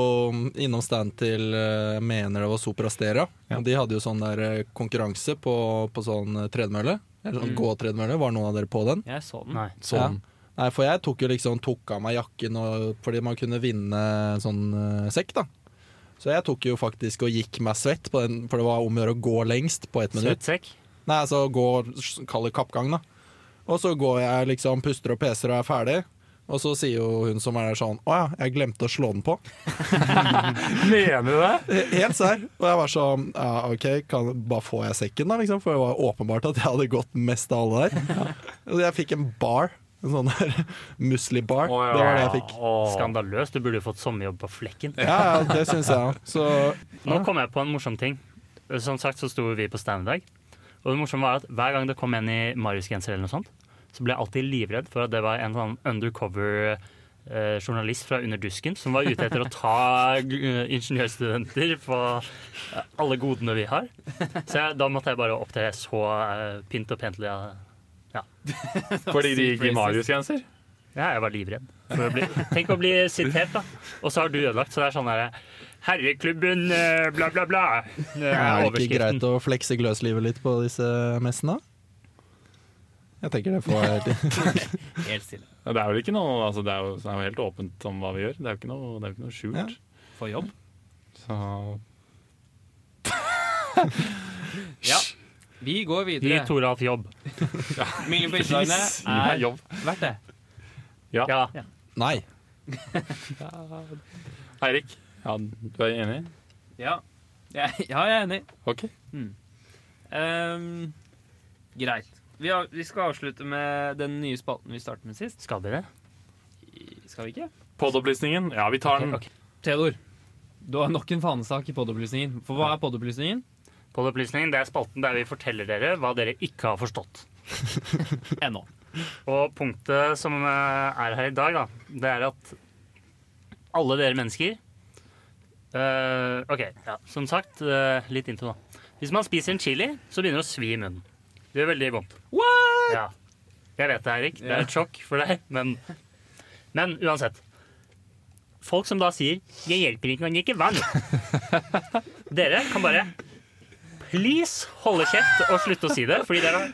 B: innom stand til eh, mener det var Sopra Stera.
D: Ja.
B: De hadde jo sånn der eh, konkurranse på, på sånn eh, tredemølle. Eller sånn
C: Mm.
B: gåtredemølle. Var noen av dere på den?
C: Jeg så den.
A: Nei.
D: Sånn.
B: Ja. Nei, for jeg tok jo liksom tok av meg jakken og, fordi man kunne vinne sånn eh, sekk, da. Så jeg tok jo faktisk og gikk meg svett, på den, for det var om å gjøre å gå lengst på ett minutt.
A: Svettsekk.
B: Nei, altså gå Kall det kappgang, da. Og så går jeg liksom, puster og peser og er ferdig. Og så sier jo hun som er der sånn Å ja, jeg glemte å slå den på.
D: Mener du det?
B: Eh, Helt serr. Og jeg var sånn ja, OK, kan, bare får jeg sekken, da, liksom? For det var åpenbart at jeg hadde gått mest av alle der. Og jeg fikk en bar. En sånn der musli-bar.
D: Å, ja.
B: Det var det jeg fikk.
D: Å.
A: Skandaløst. Du burde jo fått sommerjobb på flekken.
B: Ja, ja, det syns jeg òg. Så
A: Nå kom jeg på en morsom ting. Som sagt så sto vi på stand i dag. Og det morsomme var at hver gang det kom en i Marius-genser eller noe sånt, så ble jeg alltid livredd for at det var en sånn undercover eh, journalist fra Under dusken som var ute etter å ta eh, ingeniørstudenter på eh, alle godene vi har. Så jeg, da måtte jeg bare opptre så eh, pynt og pentlig. Ja.
D: Fordi de gikk i Marius-genser?
A: Ja, jeg var livredd. For å bli, tenk å bli sitert, da. Og så har du ødelagt, så det er sånn derre Herreklubben, eh, bla, bla, bla. Det er
B: er det ikke
A: overskriften.
B: greit å flekse gløslivet litt på disse messene? Jeg tenker det får jeg helt i.
C: Helt stille.
D: Ja, Det er vel ikke noe, altså det, er jo, det er jo helt åpent om hva vi gjør. Det er jo ikke noe, det er jo ikke noe skjult.
B: Ja.
C: For jobb.
D: Så
C: Ja. Vi går videre.
A: Gi Toralf jobb.
C: Mingling på
D: Please,
C: IT-dagene
D: gi meg
C: er
D: jobb.
C: verdt det.
D: Ja.
A: Ja.
B: Nei.
D: Eirik, ja, du er enig?
C: Ja. Ja, ja, jeg er enig.
D: OK.
C: Ehm, greit. Vi, har, vi skal avslutte med den nye spalten vi startet med sist.
A: Skal vi det?
C: Skal vi ikke?
D: Podopplysningen, ja, vi tar den.
A: Ok, ok.
C: Theodor, du har nok en fanesak i podopplysningen. For hva er podopplysningen?
A: Podopplysningen, det er spalten der vi forteller dere hva dere ikke har forstått.
C: NO.
A: Og punktet som eh, er her i dag, da, det er at alle dere mennesker eh, OK, ja, som sagt, eh, litt intro, da. Hvis man spiser en chili, så begynner det å svi i munnen. Det gjør veldig vondt.
C: What?!
A: Ja. Jeg vet det, Eirik. Det er et sjokk for deg, men Men uansett. Folk som da sier 'Jeg hjelper ikke når det ikke vann'. Dere kan bare please holde kjeft og slutte å si det, fordi det er,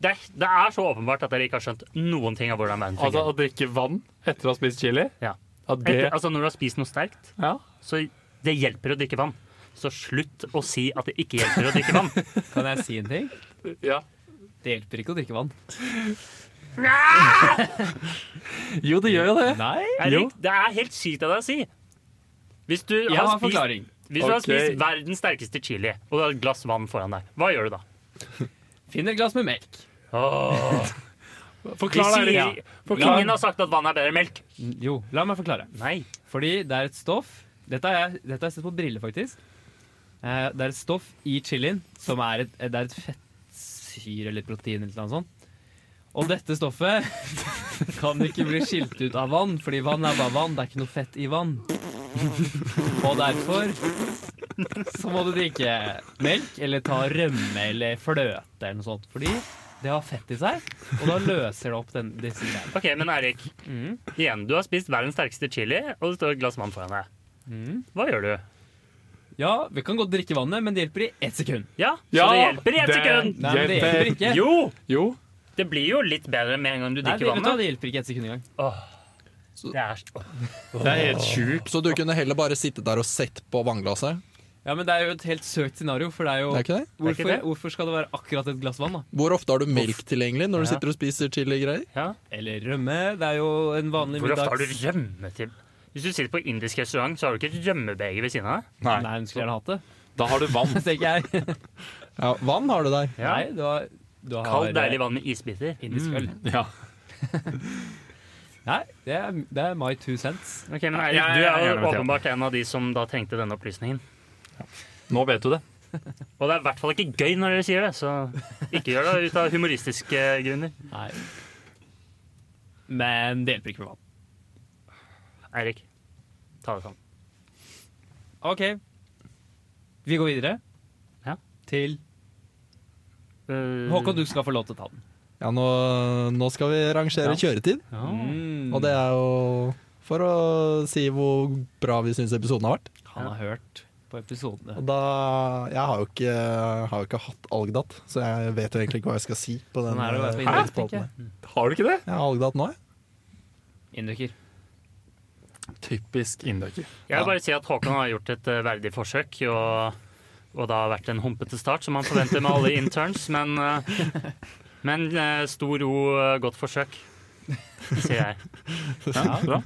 A: det er, det er så åpenbart at dere ikke har skjønt noen ting av hvordan verden
D: Altså
A: fungerer.
D: å drikke vann etter å ha spist chili?
A: Ja.
D: Ja,
A: Etter,
D: det,
A: altså Når du har spist noe sterkt,
D: ja.
A: så det hjelper å drikke vann. Så slutt å si at det ikke hjelper å drikke vann.
C: Kan jeg si en ting?
D: Ja.
C: Det hjelper ikke å drikke vann.
D: Jo, det gjør jo det.
C: Nei?
D: Jo.
A: Eirik, det er helt sykt av deg å si. Hvis du,
C: Jeg
A: har
C: har
A: spist,
C: forklaring.
A: hvis du har
D: Ok.
A: spist verdens sterkeste chili og du har et glass vann foran deg, hva gjør du da?
C: Finn et glass med melk.
A: Åh, vi
D: Forklar det.
A: sier,
D: Forklar.
A: ingen har sagt at vann er bedre enn melk.
C: Jo, la meg forklare.
A: Nei.
C: Fordi det er et stoff Dette har jeg, dette har jeg sett på briller, faktisk. Eh, det er et stoff i chilien som er et, det er et fettsyre eller protein eller noe sånt. Og dette stoffet kan ikke bli skilt ut av vann, fordi vann er bare vann. Det er ikke noe fett i vann. Og derfor så må du drikke melk eller ta rømme eller fløte eller noe sånt. Fordi det har fett i seg, og da løser det opp den, disse greiene.
A: Ok, men Eirik,
C: Mm.
A: igjen, du har spist verdens sterkeste chili, og det står et glass vann foran deg. Hva gjør du?
C: Ja, vi kan godt drikke vannet, men det hjelper i ett sekund.
A: Ja, så
D: Ja,
A: det hjelper i ett
D: det-
A: sekund!
C: Nei, men det hjelper ikke.
A: Jo!
D: Jo.
A: Det blir jo litt bedre med en gang du
C: Nei,
A: drikker
C: det, vet du, hva,
A: vannet.
C: det hjelper ikke ett sekund engang.
A: Åh,
B: Så-
A: det er, åh.
D: Det er helt sjukt.
B: Så du kunne heller bare sittet der og sett på vannglasset?
C: Ja, men det er jo et helt søkt scenario, for det er jo
B: Det er ikke det?
A: ikke
C: hvorfor,
A: det?
C: hvorfor skal det være akkurat et glass vann, da?
B: Hvor ofte har du melk tilgjengelig når du
A: Ja.
B: sitter og spiser chili-greier?
A: Ja.
C: Eller rømme. Det er jo en vanlig
A: Hvor ofte har du
C: middags...
A: rømme til? Hvis du sitter på indisk restaurant, så har du ikke et rømmebeger ved siden av deg.
D: Nei,
C: Nei, hun skulle gjerne hatt det.
D: da har du vann.
C: Det tenker jeg.
B: Ja, vann har du der.
A: Ja.
C: Nei, du har, du har eh,
A: Kald, deilig vann med isbiter. Mm.
C: Indisk øl.
D: Ja.
C: Nei, det er, det er my two cents.
A: Ok, men Eirik,
D: Jeg-
A: du
D: jeg-
A: er
D: jeg er
A: jo
D: med, ja.
A: åpenbart en av de som da trengte denne opplysningen.
D: Nå vet du det.
A: Og det er i hvert fall ikke gøy når dere sier det, så ikke gjør det ut av humoristiske grunner.
C: Nei. Men det hjelper ikke med vann.
A: Eirik, ta det sammen.
C: OK. Vi går videre.
A: Ja.
C: Til
A: Uh,
C: Håkon, du skal få lov til å ta den.
B: Ja, nå, nå skal vi rangere kjøretid,
A: Ja.
C: Mm.
B: og det er jo for å si hvor bra vi syns episoden har vært.
C: Mm. Han har hørt på episodene.
B: Og da, Jeg har jo ikke, har jo ikke hatt Algdat, så jeg vet jo egentlig ikke hva jeg skal si. på den
C: Sånn er det å være på
B: eh,
C: Indre,
B: spalten
C: tenker jeg.
B: her.
D: Har du ikke det?
B: Jeg har Algdat nå, jeg.
C: Indriker.
D: Typisk inndekker.
A: Jeg vil bare si at Håkon har gjort et eh, verdig forsøk, og, og det har vært en humpete start, som man forventer med alle interns, men, eh, men eh, stor ro, eh, godt forsøk, sier jeg.
D: Ja, bra.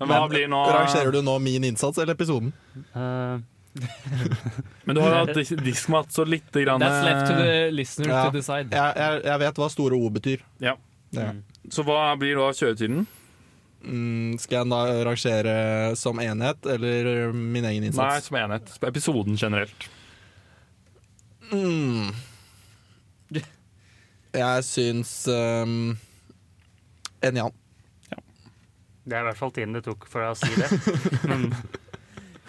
D: Men hva
B: Men
D: blir
C: Ah.
D: nå
B: Rangerer du nå min innsats eller episoden?
A: Eh,
D: Men du har jo hatt dis- diskmat så lite grann eh,
C: That's left to the listener
B: eh, Ja.
C: to decide.
B: Jeg, jeg, jeg vet hva store O betyr.
D: Ja.
C: Mm.
B: Det.
D: Så hva blir da kjøretiden?
B: Mm, skal jeg da rangere som enhet eller min egen
D: Nei,
B: innsats?
D: som enhet. Episoden generelt.
B: Mm. Jeg syns um, En Jan.
A: det er i hvert fall tiden det tok for deg å si det.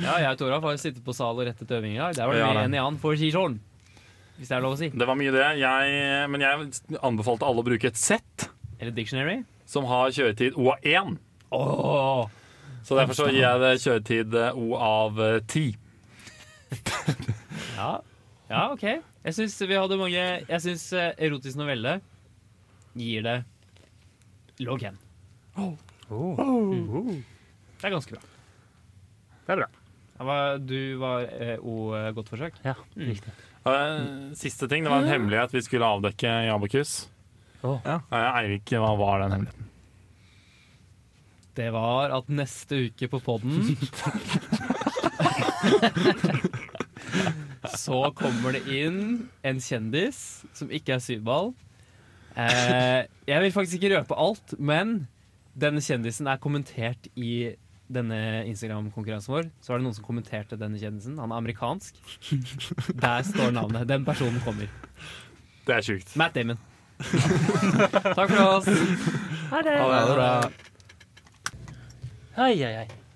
C: Ja, jeg og Toralf har sittet på sal og rettet øving i dag. Der var det
D: Ja,
C: mer
D: det.
C: enn i annen for Kisjålen. sånn, Hvis det er lov å si.
D: Det var mye det. Jeg, men jeg anbefalte alle å bruke et sett
C: Eller Dictionary.
D: som har kjøretid O av 1.
C: Åh,
D: Så derfor så gir jeg det kjøretid eh, O av 10.
C: Ja. ja, OK. Jeg syns vi hadde mange Jeg syns eh, erotisk novelle gir det log hen.
A: Oh,
C: Det er ganske bra.
A: det er bra.
C: Jeg var, du var eh, O eh, godt forsøk.
A: Ja, riktig.
D: Eh, Siste ting, det var en hemmelighet vi skulle avdekke i Abakus.
A: Åh.
D: Eh, Eirik, hva var den hemmeligheten?
C: Det var at neste uke på podden Så kommer det inn en kjendis som ikke er syvball. Eh, jeg vil faktisk ikke røpe alt, men denne kjendisen er kommentert i denne Instagram-konkurransen vår. Så var det noen som kommenterte denne kjendisen. Han er amerikansk. Der står navnet. Den personen kommer.
D: Det er sjukt.
C: Matt Damon. Takk for oss.
A: Ha det.
B: Ha det bra.
A: Hei, hei, hei.